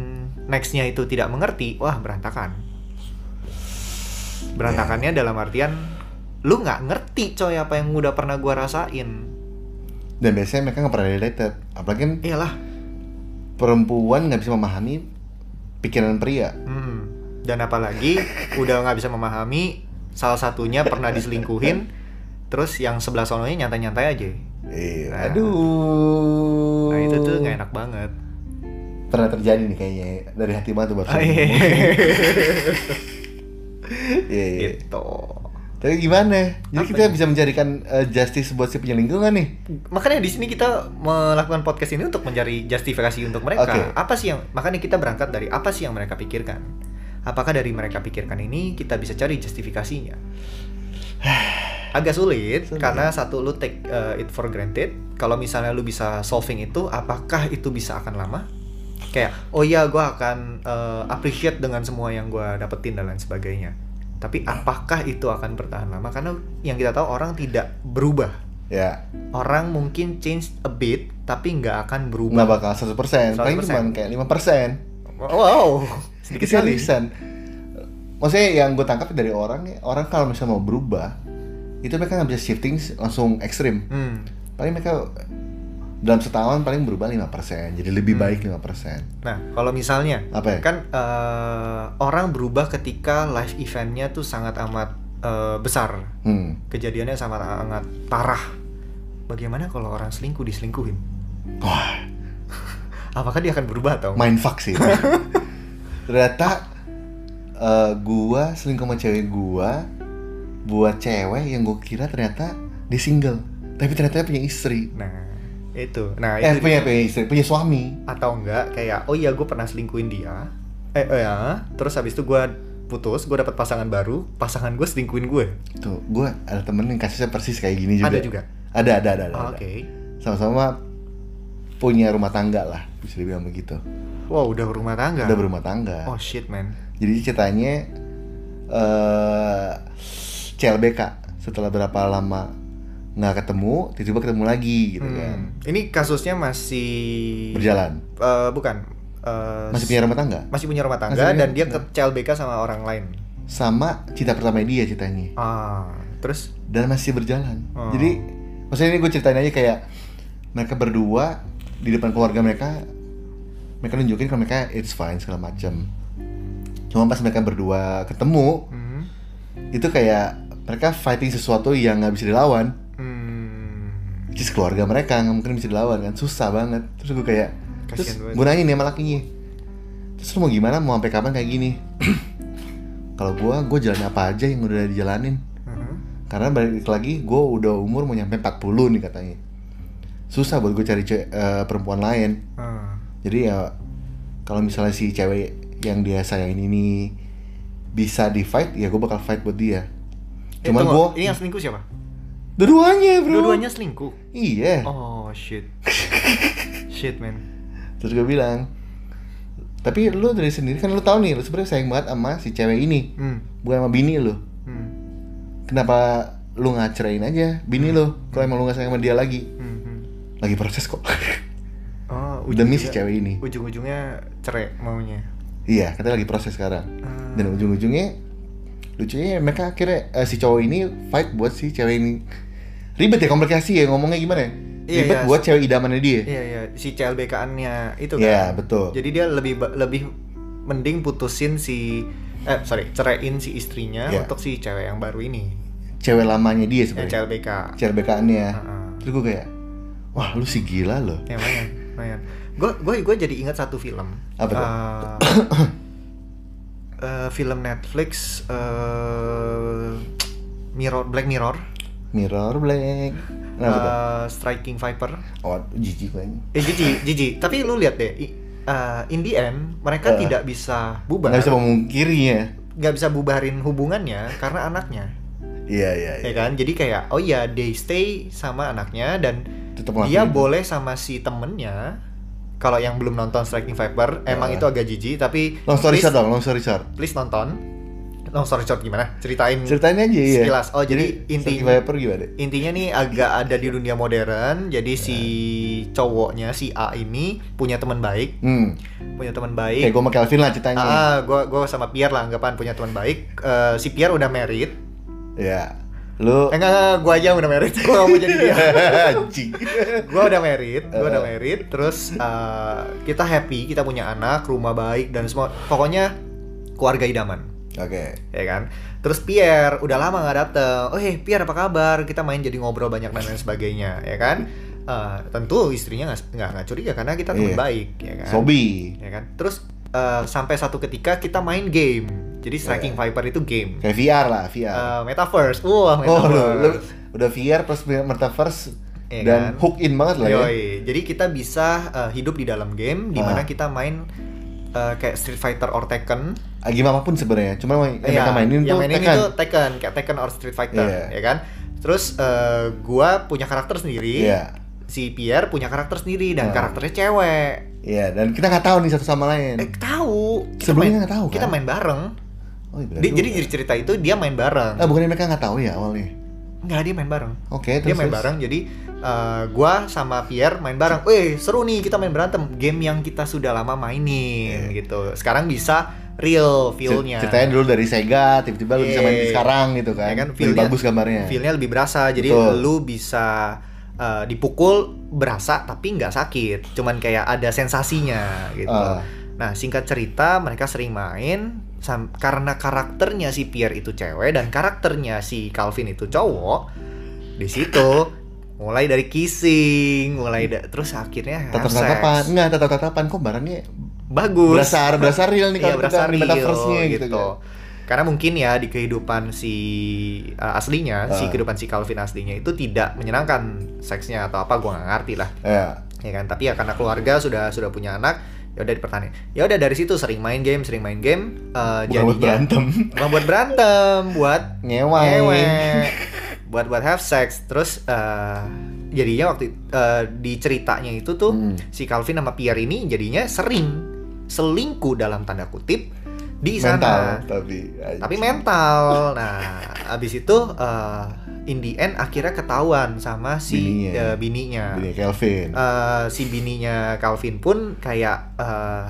[SPEAKER 2] nextnya itu tidak mengerti wah berantakan
[SPEAKER 1] Ya.
[SPEAKER 2] berantakannya dalam artian lu nggak ngerti coy apa yang udah pernah gua rasain
[SPEAKER 1] dan biasanya mereka nggak pernah related apalagi kan
[SPEAKER 2] iyalah
[SPEAKER 1] perempuan nggak bisa memahami pikiran pria
[SPEAKER 2] Hmm. Dan apalagi udah nggak bisa memahami salah satunya pernah diselingkuhin, terus yang sebelah sononya nyantai-nyantai aja.
[SPEAKER 1] Iya,
[SPEAKER 2] Nah.
[SPEAKER 1] aduh.
[SPEAKER 2] Nah itu tuh nggak enak banget.
[SPEAKER 1] pernah terjadi nih kayaknya ya, dari hati banget tuh barusan.
[SPEAKER 2] Iya.
[SPEAKER 1] [LAUGHS] Iya, iya.
[SPEAKER 2] gitu
[SPEAKER 1] Tapi gimana? Jadi
[SPEAKER 2] Apa
[SPEAKER 1] kita
[SPEAKER 2] ya?
[SPEAKER 1] bisa mencarikan eh, justice buat si punya lingkungan nih.
[SPEAKER 2] makanya di sini kita melakukan podcast ini untuk mencari justifikasi untuk mereka
[SPEAKER 1] Oke.
[SPEAKER 2] apa sih yang makanya kita berangkat dari apa sih yang mereka pikirkan apakah dari mereka pikirkan ini kita bisa cari justifikasinya [SIGHS] agak sulit,
[SPEAKER 1] Sulit.
[SPEAKER 2] karena satu lu take uh, it for granted kalau misalnya lu bisa solving itu apakah itu bisa akan lama kayak oh iya gua akan uh, appreciate dengan semua yang gua dapetin dan lain sebagainya tapi apakah itu akan bertahan lama karena yang kita tahu orang tidak berubah
[SPEAKER 1] Ya,
[SPEAKER 2] orang mungkin change a bit tapi nggak akan berubah.
[SPEAKER 1] nggak bakal 100%, paling
[SPEAKER 2] 100%.
[SPEAKER 1] cuma kayak 5%.
[SPEAKER 2] Wow, sedikit sekali.
[SPEAKER 1] Seriusan. Maksudnya yang gue tangkap dari orang nih, orang kalau misalnya mau berubah, itu mereka nggak bisa shifting langsung ekstrim.
[SPEAKER 2] Hmm.
[SPEAKER 1] Paling mereka dalam setahun paling berubah 5%, jadi lebih
[SPEAKER 2] Hmm.
[SPEAKER 1] baik 5%.
[SPEAKER 2] Nah, kalau misalnya
[SPEAKER 1] Apa ya?
[SPEAKER 2] kan eh, orang berubah ketika live eventnya tuh sangat amat eh, besar,
[SPEAKER 1] Hmm.
[SPEAKER 2] kejadiannya sangat amat parah. Bagaimana kalau orang selingkuh diselingkuhin?
[SPEAKER 1] Wah,
[SPEAKER 2] Apakah dia akan berubah atau enggak?
[SPEAKER 1] main fuck sih. [LAUGHS] Ternyata eh, gua selingkuh sama cewek gua buat cewek yang gue kira ternyata di single, tapi ternyata punya istri.
[SPEAKER 2] Nah, itu. Nah,
[SPEAKER 1] Eh
[SPEAKER 2] itu
[SPEAKER 1] punya, punya istri, punya suami.
[SPEAKER 2] atau enggak kayak oh iya gue pernah selingkuhin dia eh oh ya terus habis itu gue putus gue dapet pasangan baru pasangan gue selingkuhin gue
[SPEAKER 1] Tuh, gua ada temen yang kasusnya persis kayak gini juga.
[SPEAKER 2] ada juga
[SPEAKER 1] Ada, ada, ada, ada.
[SPEAKER 2] Ah,
[SPEAKER 1] ada.
[SPEAKER 2] oke
[SPEAKER 1] sama-sama punya rumah tangga lah bisa dibilang begitu
[SPEAKER 2] wow udah berumah tangga
[SPEAKER 1] udah berumah tangga
[SPEAKER 2] oh shit man
[SPEAKER 1] jadi ceritanya eh CLBK setelah berapa lama nggak ketemu tiba-tiba ketemu lagi gitu kan
[SPEAKER 2] Hmm. ini kasusnya masih
[SPEAKER 1] berjalan
[SPEAKER 2] Eh, bukan Eh,
[SPEAKER 1] masih punya rumah tangga
[SPEAKER 2] masih punya rumah tangga
[SPEAKER 1] Masih punya- Iya.
[SPEAKER 2] dan dia ke CLBK sama orang lain
[SPEAKER 1] sama cinta pertama dia ceritanya
[SPEAKER 2] ah terus
[SPEAKER 1] dan masih berjalan
[SPEAKER 2] Oh.
[SPEAKER 1] jadi maksudnya ini gue ceritain aja kayak mereka berdua di depan keluarga mereka mereka nunjukin kalau mereka it's fine segala macam cuma pas mereka berdua ketemu
[SPEAKER 2] hmm,
[SPEAKER 1] itu kayak mereka fighting sesuatu yang nggak bisa dilawan
[SPEAKER 2] hmm,
[SPEAKER 1] which is keluarga mereka nggak mungkin bisa dilawan kan susah banget terus gue kayak terus
[SPEAKER 2] Kasian banget.
[SPEAKER 1] gue nanya nih sama lakinya terus lu mau gimana mau sampai kapan kayak gini [CLEARS THROAT] kalau gue gue jalan apa aja yang udah dijalanin
[SPEAKER 2] hmm.
[SPEAKER 1] karena balik lagi gue udah umur mau nyampe 40 nih katanya susah buat gue cari ce- eh, perempuan lain
[SPEAKER 2] Ah.
[SPEAKER 1] jadi ya kalau misalnya si cewek yang dia sayangin ini bisa di fight ya gue bakal fight buat dia
[SPEAKER 2] Eh,
[SPEAKER 1] cuman
[SPEAKER 2] tunggu,
[SPEAKER 1] gue
[SPEAKER 2] ini yang selingkuh siapa
[SPEAKER 1] Dua-duanya bro
[SPEAKER 2] dua-duanya selingkuh
[SPEAKER 1] Iya
[SPEAKER 2] oh
[SPEAKER 1] [LAUGHS]
[SPEAKER 2] shit shit man
[SPEAKER 1] Terus gue bilang Tapi lu dari sendiri kan lu tahu nih Lu sebenarnya sayang banget sama si cewek ini
[SPEAKER 2] Hmm.
[SPEAKER 1] Bukan sama bini lu
[SPEAKER 2] Hmm.
[SPEAKER 1] Kenapa lu nggak ceraiin aja bini lu Kalau emang lu nggak sayang sama dia lagi
[SPEAKER 2] Hmm. hmm.
[SPEAKER 1] Lagi proses kok [LAUGHS]
[SPEAKER 2] Oh,
[SPEAKER 1] Demi si
[SPEAKER 2] ujung-ujungnya-
[SPEAKER 1] cewek ini
[SPEAKER 2] Ujung-ujungnya cerai maunya.
[SPEAKER 1] Iya katanya lagi proses sekarang
[SPEAKER 2] Ah.
[SPEAKER 1] Dan ujung-ujungnya Lucunya mereka akhirnya eh, Si cowok ini fight buat si cewek ini Ribet ya komplikasi ya ngomongnya gimana ya
[SPEAKER 2] Iya,
[SPEAKER 1] Ribet
[SPEAKER 2] iya.
[SPEAKER 1] buat cewek idamannya dia
[SPEAKER 2] Iya iya, si CLBK-annya itu kan.
[SPEAKER 1] Iya, betul.
[SPEAKER 2] Jadi dia lebih ba- lebih mending putusin si eh sorry, ceraiin si istrinya
[SPEAKER 1] Iya.
[SPEAKER 2] untuk si cewek yang baru ini.
[SPEAKER 1] Cewek lamanya dia
[SPEAKER 2] Yang
[SPEAKER 1] sebenarnya
[SPEAKER 2] CLBK.
[SPEAKER 1] CLBK-annya
[SPEAKER 2] Heeh.
[SPEAKER 1] Terus gue kayak Wah lu sih gila loh
[SPEAKER 2] Ya, lumayan, lumayan. Gue gue gue jadi ingat satu film.
[SPEAKER 1] Apa tuh?
[SPEAKER 2] Eh, [COUGHS] eh, film Netflix eh, Mirror Black Mirror,
[SPEAKER 1] Mirror Black. Kenapa tuh?
[SPEAKER 2] eh, Striking Viper.
[SPEAKER 1] Oh, jijik gue ini.
[SPEAKER 2] Eh jijik, jijik. Tapi lu lihat deh, i- uh, in the end mereka
[SPEAKER 1] Eh.
[SPEAKER 2] tidak bisa bubar,
[SPEAKER 1] Nggak bisa ya. memungkirinya.
[SPEAKER 2] nggak bisa bubarin hubungannya karena anaknya,
[SPEAKER 1] Iya, iya, iya.
[SPEAKER 2] ya kan? Jadi kayak oh ya they stay sama anaknya dan
[SPEAKER 1] Tetap
[SPEAKER 2] dia
[SPEAKER 1] ngelakuin itu.
[SPEAKER 2] boleh sama si temennya. Kalau yang belum nonton Striking Viper, emang
[SPEAKER 1] Eh.
[SPEAKER 2] itu agak jijik, tapi
[SPEAKER 1] Long story
[SPEAKER 2] please,
[SPEAKER 1] short dong, long story short.
[SPEAKER 2] please nonton. Long story short gimana? Ceritain.
[SPEAKER 1] Ceritain aja ya.
[SPEAKER 2] Sekilas. Oh, jadi
[SPEAKER 1] Sergi
[SPEAKER 2] intinya-
[SPEAKER 1] Viper gimana?
[SPEAKER 2] intinya nih agak ada di dunia modern. Jadi
[SPEAKER 1] Iya.
[SPEAKER 2] si cowoknya si A ini punya teman baik,
[SPEAKER 1] Hmm.
[SPEAKER 2] punya teman baik.
[SPEAKER 1] Kayak gue sama Kelvin lah ceritanya.
[SPEAKER 2] Ah, gua gua sama Pierre lah anggapan punya teman baik. Eh, si Pierre udah married.
[SPEAKER 1] Iya. Lu
[SPEAKER 2] [LAUGHS] Eh, enggak, enggak, enggak, gua aja yang udah married. [LAUGHS] Gua nggak mau jadi dia.
[SPEAKER 1] anjing.
[SPEAKER 2] Gua udah married, gua udah married. Terus eh, kita happy, kita punya anak, rumah baik dan semua. Pokoknya keluarga idaman,
[SPEAKER 1] Oke.
[SPEAKER 2] ya kan? Terus "Eh, Pierre udah lama nggak dateng. Oh, hey, Pierre apa kabar? Kita main jadi ngobrol banyak dan lain sebagainya, ya kan? eh, tentu istrinya nggak nggak nggak curiga karena kita
[SPEAKER 1] Iya.
[SPEAKER 2] teman baik ya kan
[SPEAKER 1] Sobi.
[SPEAKER 2] ya kan terus eh, sampai satu ketika kita main game jadi striking viper itu game
[SPEAKER 1] Kayak VR lah, VR.
[SPEAKER 2] Eh, metaverse wah
[SPEAKER 1] Iya. oh, lu,
[SPEAKER 2] metaverse
[SPEAKER 1] lu udah VR plus metaverse
[SPEAKER 2] Iya
[SPEAKER 1] dan
[SPEAKER 2] kan?
[SPEAKER 1] hook in banget lah ya.
[SPEAKER 2] Yoi. jadi kita bisa eh, hidup di dalam game di
[SPEAKER 1] Ah.
[SPEAKER 2] mana kita main eh, kayak Street Fighter or Tekken
[SPEAKER 1] Ah, Gimana pun sebenarnya, cuma yang
[SPEAKER 2] Iya,
[SPEAKER 1] mereka mainin tuh
[SPEAKER 2] yang mainin
[SPEAKER 1] Tekken.
[SPEAKER 2] itu Tekken kayak Tekken or Street Fighter
[SPEAKER 1] Iya.
[SPEAKER 2] ya kan terus eh, gua punya karakter sendiri
[SPEAKER 1] Iya.
[SPEAKER 2] si Pierre punya karakter sendiri dan
[SPEAKER 1] Ah.
[SPEAKER 2] karakternya cewek
[SPEAKER 1] Iya, dan kita nggak tahu nih satu sama lain.
[SPEAKER 2] eh tahu kita
[SPEAKER 1] Sebelumnya
[SPEAKER 2] main-
[SPEAKER 1] nggak tahu, kan?
[SPEAKER 2] kita main bareng
[SPEAKER 1] oh, iya,
[SPEAKER 2] Dia-
[SPEAKER 1] juga.
[SPEAKER 2] jadi jadi cerita itu dia main bareng
[SPEAKER 1] Ah, bukannya mereka nggak tahu ya awalnya.
[SPEAKER 2] nggak dia main bareng
[SPEAKER 1] Oke,
[SPEAKER 2] dia
[SPEAKER 1] terus
[SPEAKER 2] main
[SPEAKER 1] terus.
[SPEAKER 2] bareng jadi eh, gua sama Pierre main bareng weh seru nih kita main berantem game yang kita sudah lama
[SPEAKER 1] Iya.
[SPEAKER 2] mainin gitu sekarang bisa real feel-nya
[SPEAKER 1] Ceritanya dulu dari Sega, tiba-tiba lu bisa main di
[SPEAKER 2] Iya.
[SPEAKER 1] sekarang gitu kan.
[SPEAKER 2] Ya kan,
[SPEAKER 1] Lebih
[SPEAKER 2] feel-nya-
[SPEAKER 1] bagus gambarnya.
[SPEAKER 2] feel-nya lebih berasa jadi
[SPEAKER 1] ya. Betul.
[SPEAKER 2] lu bisa eh, dipukul berasa tapi nggak sakit cuman kayak ada sensasinya gitu
[SPEAKER 1] Ah.
[SPEAKER 2] nah singkat cerita mereka sering main sam- karena karakternya si Pierre itu cewek dan karakternya si Calvin itu cowok di situ mulai dari kissing mulai da- terus akhirnya have
[SPEAKER 1] tatap-tatapan.
[SPEAKER 2] sex.
[SPEAKER 1] Enggak, tatap-tatapan kok barangnya
[SPEAKER 2] bagus
[SPEAKER 1] berasa berasa real nih
[SPEAKER 2] [LAUGHS] Iya,
[SPEAKER 1] kalau kita
[SPEAKER 2] berasa real
[SPEAKER 1] metaverse-nya
[SPEAKER 2] gitu.
[SPEAKER 1] gitu, kan.
[SPEAKER 2] Karena mungkin ya di kehidupan si uh, aslinya, si
[SPEAKER 1] Ah.
[SPEAKER 2] kehidupan si Calvin aslinya itu tidak menyenangkan seksnya atau apa gua nggak ngerti lah,
[SPEAKER 1] Iya.
[SPEAKER 2] ya kan. Tapi ya karena keluarga sudah sudah punya anak, ya udah dipertahankan. Ya udah dari situ sering main game, sering main game,
[SPEAKER 1] Bukan buat
[SPEAKER 2] uh, jadinya
[SPEAKER 1] Ya, berantem.
[SPEAKER 2] bukan buat berantem,
[SPEAKER 1] [LAUGHS]
[SPEAKER 2] buat
[SPEAKER 1] Nyewain.
[SPEAKER 2] ngewe, buat buat have sex. Terus uh, jadinya waktu uh, di ceritanya itu tuh
[SPEAKER 1] Hmm.
[SPEAKER 2] si Calvin sama Pierre ini jadinya sering selingkuh dalam tanda kutip di
[SPEAKER 1] Mental
[SPEAKER 2] sana
[SPEAKER 1] tapi. anjing.
[SPEAKER 2] tapi mental nah abis itu eh, in the end akhirnya ketahuan sama
[SPEAKER 1] Bininya.
[SPEAKER 2] si eh, bininya,
[SPEAKER 1] Ini Kelvin.
[SPEAKER 2] Eh, si bininya Calvin pun kayak eh,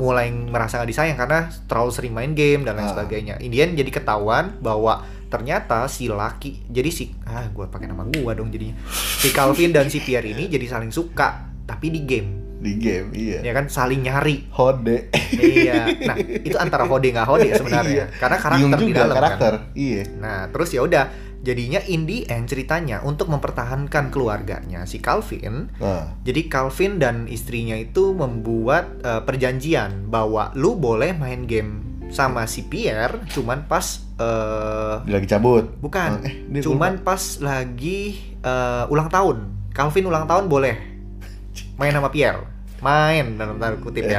[SPEAKER 2] mulai merasa nggak disayang karena terlalu sering main game dan lain
[SPEAKER 1] Ah.
[SPEAKER 2] sebagainya in the end jadi ketahuan bahwa ternyata si laki jadi si ah gue pakai nama gua dong jadinya si Calvin dan si Pierre ini jadi saling suka tapi di game
[SPEAKER 1] di game iya
[SPEAKER 2] ya kan saling nyari
[SPEAKER 1] hode Eh,
[SPEAKER 2] iya nah itu antara hode nggak hode ya
[SPEAKER 1] Iya.
[SPEAKER 2] sebenarnya karena
[SPEAKER 1] Bingung
[SPEAKER 2] karakter di dalam kan.
[SPEAKER 1] karakter iya
[SPEAKER 2] Nah, terus ya udah jadinya in the end ceritanya untuk mempertahankan keluarganya si Calvin.
[SPEAKER 1] nah
[SPEAKER 2] Jadi Calvin dan istrinya itu membuat eh, perjanjian bahwa lu boleh main game sama si Pierre cuman pas eh
[SPEAKER 1] dia lagi cabut
[SPEAKER 2] bukan
[SPEAKER 1] Eh, dia
[SPEAKER 2] Nah, cuman pas lagi eh, ulang tahun. Calvin ulang tahun boleh main sama Pierre. Main dalam tanda kutip ya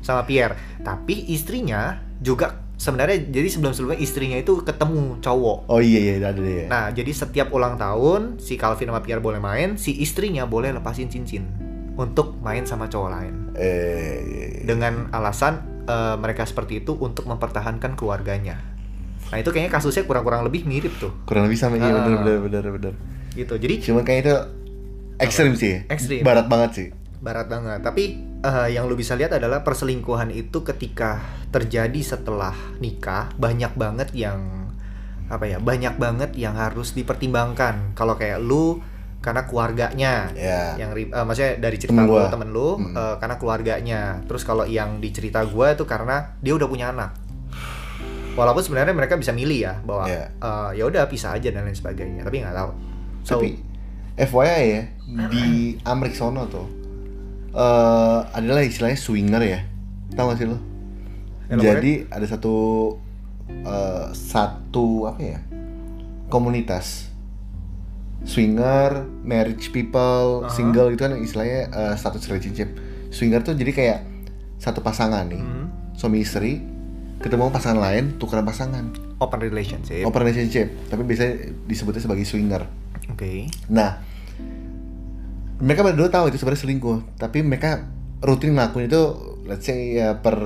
[SPEAKER 2] sama Pierre. Tapi istrinya juga sebenarnya jadi sebelum-sebelumnya istrinya itu ketemu cowok
[SPEAKER 1] oh iya iya ada dia
[SPEAKER 2] Nah, jadi setiap ulang tahun si Calvin sama Pierre boleh main, si istrinya boleh lepasin cincin untuk main sama cowok lain.
[SPEAKER 1] eh iya, iya.
[SPEAKER 2] Dengan alasan eh, mereka seperti itu untuk mempertahankan keluarganya. Nah, itu kayaknya kasusnya kurang-kurang lebih mirip tuh.
[SPEAKER 1] kurang lebih sama iya
[SPEAKER 2] Ah.
[SPEAKER 1] bener bener bener bener
[SPEAKER 2] Gitu. Jadi
[SPEAKER 1] cuman kayak itu ekstrim sih
[SPEAKER 2] Ekstrim.
[SPEAKER 1] barat banget sih
[SPEAKER 2] barat banget. Tapi eh, yang lu bisa lihat adalah perselingkuhan itu ketika terjadi setelah nikah, banyak banget yang apa ya? Banyak banget yang harus dipertimbangkan. Kalau kayak lu karena keluarganya
[SPEAKER 1] ya
[SPEAKER 2] yang ri- eh, maksudnya dari
[SPEAKER 1] Temen
[SPEAKER 2] cerita lu
[SPEAKER 1] gua.
[SPEAKER 2] temen lu
[SPEAKER 1] Hmm.
[SPEAKER 2] eh, karena keluarganya terus kalau yang di cerita gua itu karena dia udah punya anak walaupun sebenarnya mereka bisa milih ya bahwa
[SPEAKER 1] Iya.
[SPEAKER 2] eh, ya udah pisah aja dan lain sebagainya tapi nggak tahu so
[SPEAKER 1] tapi FYI ya di
[SPEAKER 2] Hmm.
[SPEAKER 1] Amrik sono tuh eh adalah istilahnya swinger ya tau gak sih lo
[SPEAKER 2] Elaborate.
[SPEAKER 1] jadi ada satu eh, satu apa ya komunitas swinger marriage people
[SPEAKER 2] Aha.
[SPEAKER 1] single itu kan istilahnya eh, status relationship swinger tuh jadi kayak satu pasangan nih
[SPEAKER 2] hmm,
[SPEAKER 1] suami istri ketemu pasangan lain tukeran pasangan
[SPEAKER 2] open relationship oke
[SPEAKER 1] open relationship tapi biasanya disebutnya sebagai swinger Nah, mereka berdua tahu itu sebenarnya selingkuh, tapi mereka rutin ngelakuin itu, let's say ya per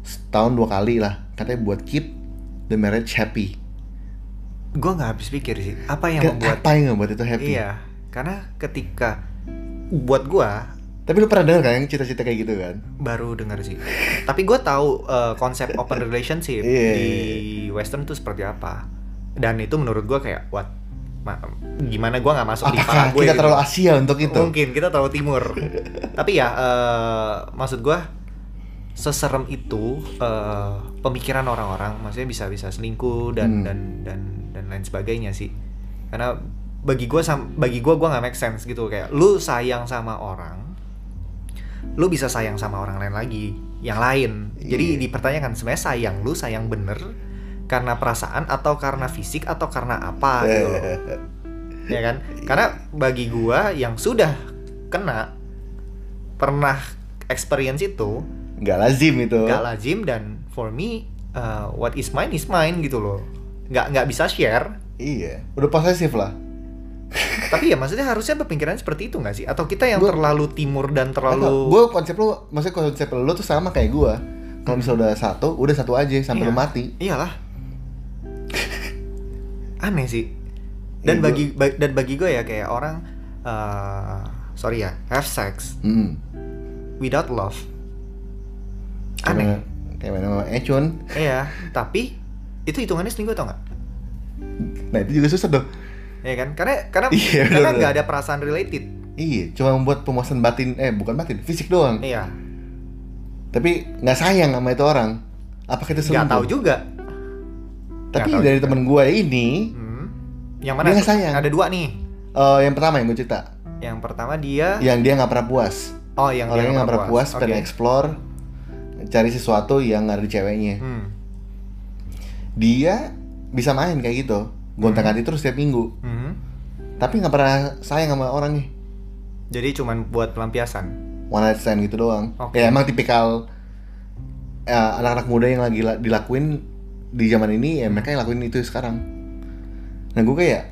[SPEAKER 1] setahun dua kali lah, katanya buat keep the marriage happy.
[SPEAKER 2] gua nggak habis pikir sih apa yang
[SPEAKER 1] Kan
[SPEAKER 2] Iya, membuat
[SPEAKER 1] apa yang ngebuat itu happy?
[SPEAKER 2] iya karena ketika buat gua
[SPEAKER 1] Tapi lu pernah dengar kan yang cita-cita kayak gitu kan?
[SPEAKER 2] baru dengar sih tapi gue tahu eh, konsep open relationship
[SPEAKER 1] Iya,
[SPEAKER 2] di
[SPEAKER 1] iya,
[SPEAKER 2] western tuh seperti apa dan itu menurut gue kayak what Ma- gimana gue nggak masuk di
[SPEAKER 1] Apakah
[SPEAKER 2] paham gue
[SPEAKER 1] kita
[SPEAKER 2] gitu.
[SPEAKER 1] terlalu Asia untuk itu?
[SPEAKER 2] mungkin kita terlalu
[SPEAKER 1] [LAUGHS]
[SPEAKER 2] timur tapi ya eh, maksud gue seserem itu eh, pemikiran orang-orang maksudnya bisa bisa selingkuh
[SPEAKER 1] Hmm.
[SPEAKER 2] dan dan dan dan lain sebagainya sih karena bagi gue bagi gue gue nggak make sense gitu kayak lu sayang sama orang lu bisa sayang sama orang lain lagi yang lain
[SPEAKER 1] Iya.
[SPEAKER 2] jadi dipertanyakan sebenarnya sayang lu sayang bener karena perasaan atau karena fisik atau karena apa
[SPEAKER 1] Eh,
[SPEAKER 2] gitu loh
[SPEAKER 1] [LAUGHS]
[SPEAKER 2] ya kan karena bagi gua yang sudah kena pernah experience itu
[SPEAKER 1] nggak lazim itu
[SPEAKER 2] nggak lazim dan for me uh, what is mine is mine gitu loh nggak nggak bisa share
[SPEAKER 1] iya udah posesif lah
[SPEAKER 2] tapi ya maksudnya harusnya berpikiran seperti itu nggak sih atau kita yang
[SPEAKER 1] Gua-
[SPEAKER 2] terlalu timur dan terlalu
[SPEAKER 1] gue konsep lu maksudnya konsep lu tuh sama kayak gue kalau misalnya udah satu udah satu aja sampai lu
[SPEAKER 2] Hmm. Iya.
[SPEAKER 1] mati
[SPEAKER 2] iyalah aneh sih
[SPEAKER 1] Iya,
[SPEAKER 2] dan
[SPEAKER 1] gua-
[SPEAKER 2] bagi ba- dan bagi gue ya kayak orang uh, sorry ya have sex
[SPEAKER 1] hmm.
[SPEAKER 2] without love
[SPEAKER 1] Kayak
[SPEAKER 2] aneh
[SPEAKER 1] mana- kayak mana sama Echun
[SPEAKER 2] Iya, tapi itu hitungannya selingkuh atau enggak?
[SPEAKER 1] nah itu juga susah tuh
[SPEAKER 2] Ya kan? Karena karena
[SPEAKER 1] Iya,
[SPEAKER 2] karena
[SPEAKER 1] bener-bener.
[SPEAKER 2] nggak ada perasaan related.
[SPEAKER 1] iya cuma membuat pemuasan batin eh bukan batin fisik doang
[SPEAKER 2] Iya.
[SPEAKER 1] tapi nggak sayang sama itu orang apa kita
[SPEAKER 2] Nggak
[SPEAKER 1] selingkuh
[SPEAKER 2] tahu juga.
[SPEAKER 1] tapi
[SPEAKER 2] nggak tahu
[SPEAKER 1] dari
[SPEAKER 2] juga.
[SPEAKER 1] temen gue ini
[SPEAKER 2] Hmm. Yang mana?
[SPEAKER 1] Dia nggak sayang.
[SPEAKER 2] Ada dua nih.
[SPEAKER 1] eh, yang pertama yang gue cerita
[SPEAKER 2] Yang pertama dia
[SPEAKER 1] yang dia nggak pernah puas
[SPEAKER 2] Oh, yang dia
[SPEAKER 1] orangnya Iya. nggak pernah puas
[SPEAKER 2] Oke.
[SPEAKER 1] pengen explore cari sesuatu yang nggak ada di ceweknya
[SPEAKER 2] Hmm.
[SPEAKER 1] dia bisa main kayak gitu gonta ganti terus setiap minggu
[SPEAKER 2] Hmm.
[SPEAKER 1] tapi nggak pernah sayang sama orangnya
[SPEAKER 2] Jadi cuman buat pelampiasan.
[SPEAKER 1] one night stand gitu doang
[SPEAKER 2] Oke.
[SPEAKER 1] ya emang tipikal eh, anak-anak muda yang lagi la- dilakuin di zaman ini ya mereka yang lakuin itu sekarang nah gue kayak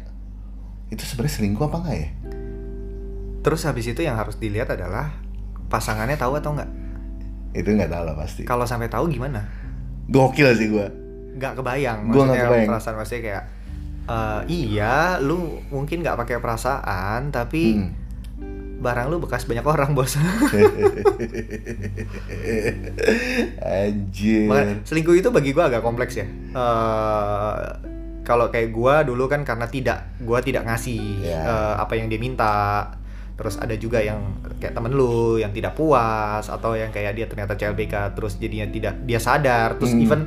[SPEAKER 1] itu sebenarnya selingkuh apa enggak ya
[SPEAKER 2] Terus habis itu yang harus dilihat adalah pasangannya tahu atau enggak.
[SPEAKER 1] itu nggak tahu lah pasti
[SPEAKER 2] Kalau sampai tahu gimana?
[SPEAKER 1] gokil sih gue
[SPEAKER 2] Nggak kebayang.
[SPEAKER 1] Gua nggak
[SPEAKER 2] Maksudnya
[SPEAKER 1] kebayang.
[SPEAKER 2] Perasaan maksudnya kayak eh, iya, lu mungkin nggak pakai perasaan, tapi
[SPEAKER 1] Hmm.
[SPEAKER 2] barang lu bekas banyak orang [LAUGHS] bos
[SPEAKER 1] anjir
[SPEAKER 2] Makanya selingkuh itu bagi gua agak kompleks ya Eh, kalau kayak gua dulu kan karena tidak gua tidak ngasih
[SPEAKER 1] Ya.
[SPEAKER 2] eh, apa yang dia minta terus ada juga yang kayak temen lu yang tidak puas atau yang kayak dia ternyata CLBK terus jadinya tidak dia sadar terus
[SPEAKER 1] Hmm.
[SPEAKER 2] even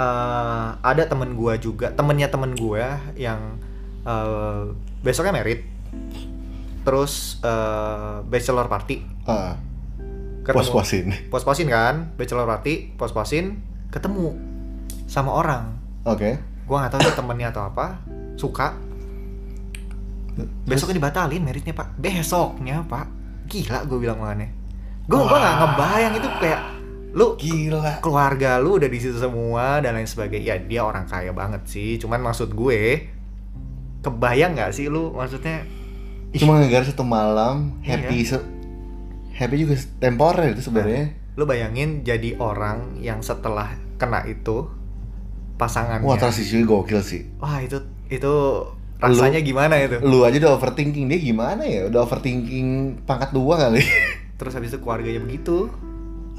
[SPEAKER 2] eh, ada temen gua juga temennya temen gua yang eh, besoknya merit terus eh, bachelor party
[SPEAKER 1] Ah,
[SPEAKER 2] ketemu
[SPEAKER 1] puas-puasin
[SPEAKER 2] pos-posin kan bachelor party pos-posin ketemu sama orang
[SPEAKER 1] oke
[SPEAKER 2] gua nggak tahu itu temennya atau apa suka besoknya dibatalin meritnya pak besoknya pak gila gue bilang makanya gue gua nggak
[SPEAKER 1] Wah.
[SPEAKER 2] ngebayang itu kayak lu
[SPEAKER 1] gila
[SPEAKER 2] keluarga lu udah di situ semua dan lain sebagainya ya dia orang kaya banget sih cuman maksud gue kebayang nggak sih lu maksudnya
[SPEAKER 1] cuma gara satu malam
[SPEAKER 2] Iya.
[SPEAKER 1] happy se- happy juga se- temporer itu sebenarnya
[SPEAKER 2] lu bayangin jadi orang yang setelah kena itu pasangannya
[SPEAKER 1] wah transisinya gokil sih
[SPEAKER 2] Wah itu itu rasanya gimana itu?
[SPEAKER 1] lu aja udah overthinking dia gimana ya udah overthinking pangkat dua kali [LAUGHS]
[SPEAKER 2] Terus habis itu keluarganya begitu,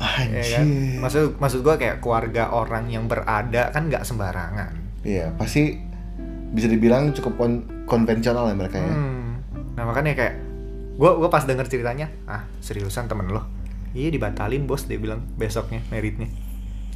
[SPEAKER 2] ya
[SPEAKER 1] anjir
[SPEAKER 2] kan? Maksud maksud gua kayak keluarga orang yang berada kan nggak sembarangan.
[SPEAKER 1] iya pasti bisa dibilang cukup kon- konvensional ya mereka ya
[SPEAKER 2] Hmm. Nah makanya kayak gua gua pas denger ceritanya, ah seriusan temen lo? Iya dibatalin bos dia bilang besoknya meritnya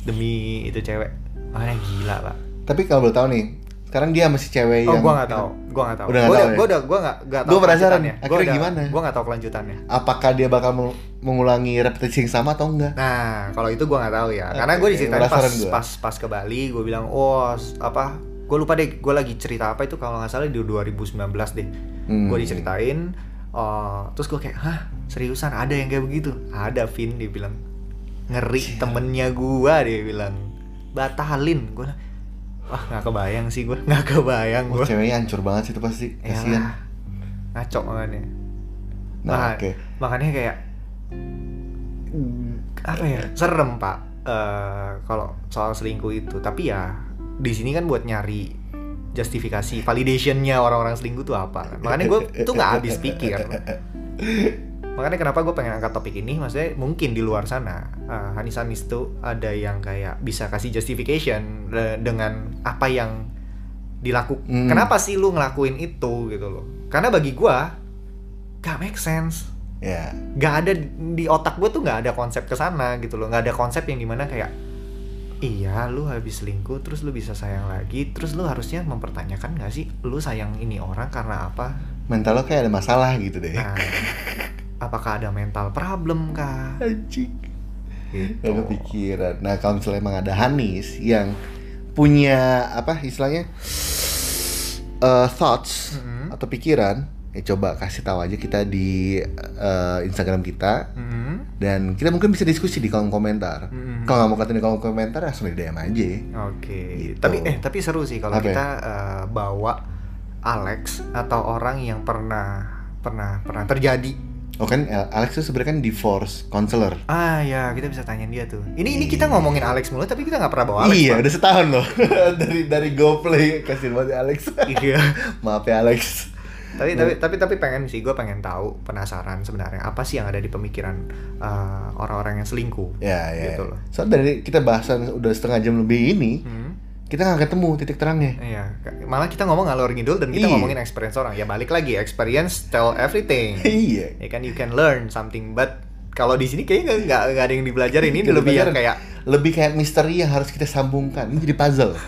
[SPEAKER 2] demi itu cewek. Mana gila pak?
[SPEAKER 1] tapi kalau boleh tahu nih sekarang dia masih cewek
[SPEAKER 2] Oh
[SPEAKER 1] yang
[SPEAKER 2] gua nggak tahu, gua nggak tahu.
[SPEAKER 1] Iya. Udah
[SPEAKER 2] gua
[SPEAKER 1] nggak tahu
[SPEAKER 2] udah,
[SPEAKER 1] ya?
[SPEAKER 2] gua udah gua nggak nggak tahu.
[SPEAKER 1] Gua penasaran,
[SPEAKER 2] kelanjutannya. Gua
[SPEAKER 1] akhirnya
[SPEAKER 2] udah-
[SPEAKER 1] gimana?
[SPEAKER 2] Gua nggak tahu kelanjutannya.
[SPEAKER 1] apakah dia bakal meng- mengulangi repetisi yang sama atau enggak
[SPEAKER 2] Nah, kalau itu gua nggak tahu ya. Karena
[SPEAKER 1] Oke,
[SPEAKER 2] gue diceritain pas,
[SPEAKER 1] penasaran gua.
[SPEAKER 2] pas pas ke Bali, gue bilang, oh s- apa? Gue lupa deh. Gue lagi cerita apa itu kalau nggak salah di 2019 deh.
[SPEAKER 1] Hmm.
[SPEAKER 2] Gue diceritain. eh, terus gue kayak, hah seriusan ada yang kayak begitu? Ada Vin dia bilang. Ngeri temennya gua dia bilang. Batalin gue. Wah nggak kebayang sih gue, nggak kebayang
[SPEAKER 1] Wah,
[SPEAKER 2] gue.
[SPEAKER 1] Oh, ceweknya hancur banget sih itu pasti
[SPEAKER 2] Ya
[SPEAKER 1] kasihan
[SPEAKER 2] Ngaco makanya.
[SPEAKER 1] nah
[SPEAKER 2] Maka-
[SPEAKER 1] oke
[SPEAKER 2] Makanya kayak apa ya? Serem, Pak. eh, kalau soal selingkuh itu, tapi ya di sini kan buat nyari justifikasi validationnya orang-orang selingkuh tuh apa kan. Makanya gue tuh nggak habis pikir. Makanya kenapa gue pengen angkat topik ini, maksudnya mungkin di luar sana eh, Hanis-Hanis tuh ada yang kayak bisa kasih justification eh, dengan apa yang dilakukan.
[SPEAKER 1] Hmm.
[SPEAKER 2] Kenapa sih lu ngelakuin itu gitu loh? Karena bagi gua gak make sense
[SPEAKER 1] ya
[SPEAKER 2] nggak ada di otak gue tuh nggak ada konsep ke sana gitu loh nggak ada konsep yang dimana kayak iya lu habis selingkuh terus lu bisa sayang lagi terus lu harusnya mempertanyakan nggak sih lu sayang ini orang karena apa
[SPEAKER 1] mental lo kayak ada masalah gitu deh [LAUGHS]
[SPEAKER 2] Nah, apakah ada mental problem kah?
[SPEAKER 1] anjing
[SPEAKER 2] Gitu.
[SPEAKER 1] Gak kepikiran. Nah kalau misalnya emang ada Hanis yang punya apa istilahnya eh, thoughts
[SPEAKER 2] Mm-mm.
[SPEAKER 1] atau pikiran, ya coba kasih tahu aja kita di eh, Instagram kita
[SPEAKER 2] Mm-mm.
[SPEAKER 1] dan kita mungkin bisa diskusi di kolom komentar.
[SPEAKER 2] Mm-mm.
[SPEAKER 1] Kalau nggak mau katain di kolom komentar ya langsung di DM aja.
[SPEAKER 2] Mm-hmm. Oke.
[SPEAKER 1] Gitu.
[SPEAKER 2] Tapi eh tapi seru sih kalau
[SPEAKER 1] Apa ya?
[SPEAKER 2] kita eh, bawa Alex atau orang yang pernah pernah pernah terjadi.
[SPEAKER 1] Oh kan eh, Alex tuh sebenarnya kan divorce counselor.
[SPEAKER 2] Ah ya kita bisa tanyain dia tuh. Ini ini kita ngomongin Alex mulu tapi kita nggak pernah bawa Oh, Alex.
[SPEAKER 1] iya,
[SPEAKER 2] Pak.
[SPEAKER 1] udah setahun loh [LAUGHS] dari dari GoPlay kasih banget ya, Alex.
[SPEAKER 2] [LAUGHS] Iya.
[SPEAKER 1] Maaf ya Alex.
[SPEAKER 2] tapi tapi
[SPEAKER 1] Iya.
[SPEAKER 2] tapi tapi pengen sih gue pengen tahu penasaran sebenarnya apa sih yang ada di pemikiran eh, orang-orang yang selingkuh.
[SPEAKER 1] Ya ya.
[SPEAKER 2] Gitu loh.
[SPEAKER 1] Soalnya dari kita bahasan udah setengah jam lebih ini,
[SPEAKER 2] Hmm.
[SPEAKER 1] kita nggak ketemu titik terangnya. [LAUGHS]
[SPEAKER 2] Iya, malah kita ngomong ngalor ngidul dan kita
[SPEAKER 1] Iya.
[SPEAKER 2] ngomongin experience orang. Ya balik lagi, experience tell everything.
[SPEAKER 1] iya.
[SPEAKER 2] ya kan you can learn something but kalau di sini kayaknya nggak- nggak nggak ada yang dipelajarin ini
[SPEAKER 1] Nggak
[SPEAKER 2] lebih yang
[SPEAKER 1] dipelajarin.
[SPEAKER 2] kayak
[SPEAKER 1] Lebih kayak misteri yang harus kita sambungkan. Ini jadi puzzle.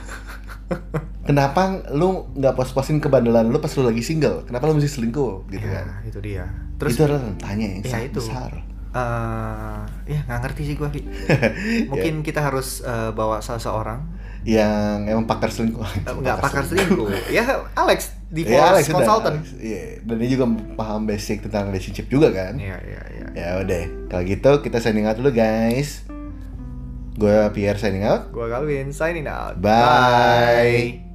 [SPEAKER 1] Kenapa lu nggak pos-posin kebandelan lu pas lu lagi single? Kenapa lu mesti selingkuh gitu kan?
[SPEAKER 2] ya, itu dia terus
[SPEAKER 1] itu adalah tanya yang
[SPEAKER 2] Ya,
[SPEAKER 1] sangat
[SPEAKER 2] itu.
[SPEAKER 1] besar.
[SPEAKER 2] eh, ya nggak ngerti sih gua Ki.
[SPEAKER 1] [LAUGHS]
[SPEAKER 2] mungkin
[SPEAKER 1] Ya.
[SPEAKER 2] kita harus eh, bawa seseorang
[SPEAKER 1] Yang emang pakar selingkuh.
[SPEAKER 2] Eh, nggak pakar
[SPEAKER 1] [LAUGHS]
[SPEAKER 2] selingkuh ya Alex di
[SPEAKER 1] Ya, Alex udah,
[SPEAKER 2] consultant
[SPEAKER 1] Alex. Iya, dan dia juga paham basic tentang relationship juga kan.
[SPEAKER 2] Iya, iya, iya.
[SPEAKER 1] Ya udah, kalau gitu kita signing out dulu guys. Gue Pierre signing out.
[SPEAKER 2] gua Calvin signing out
[SPEAKER 1] Bye.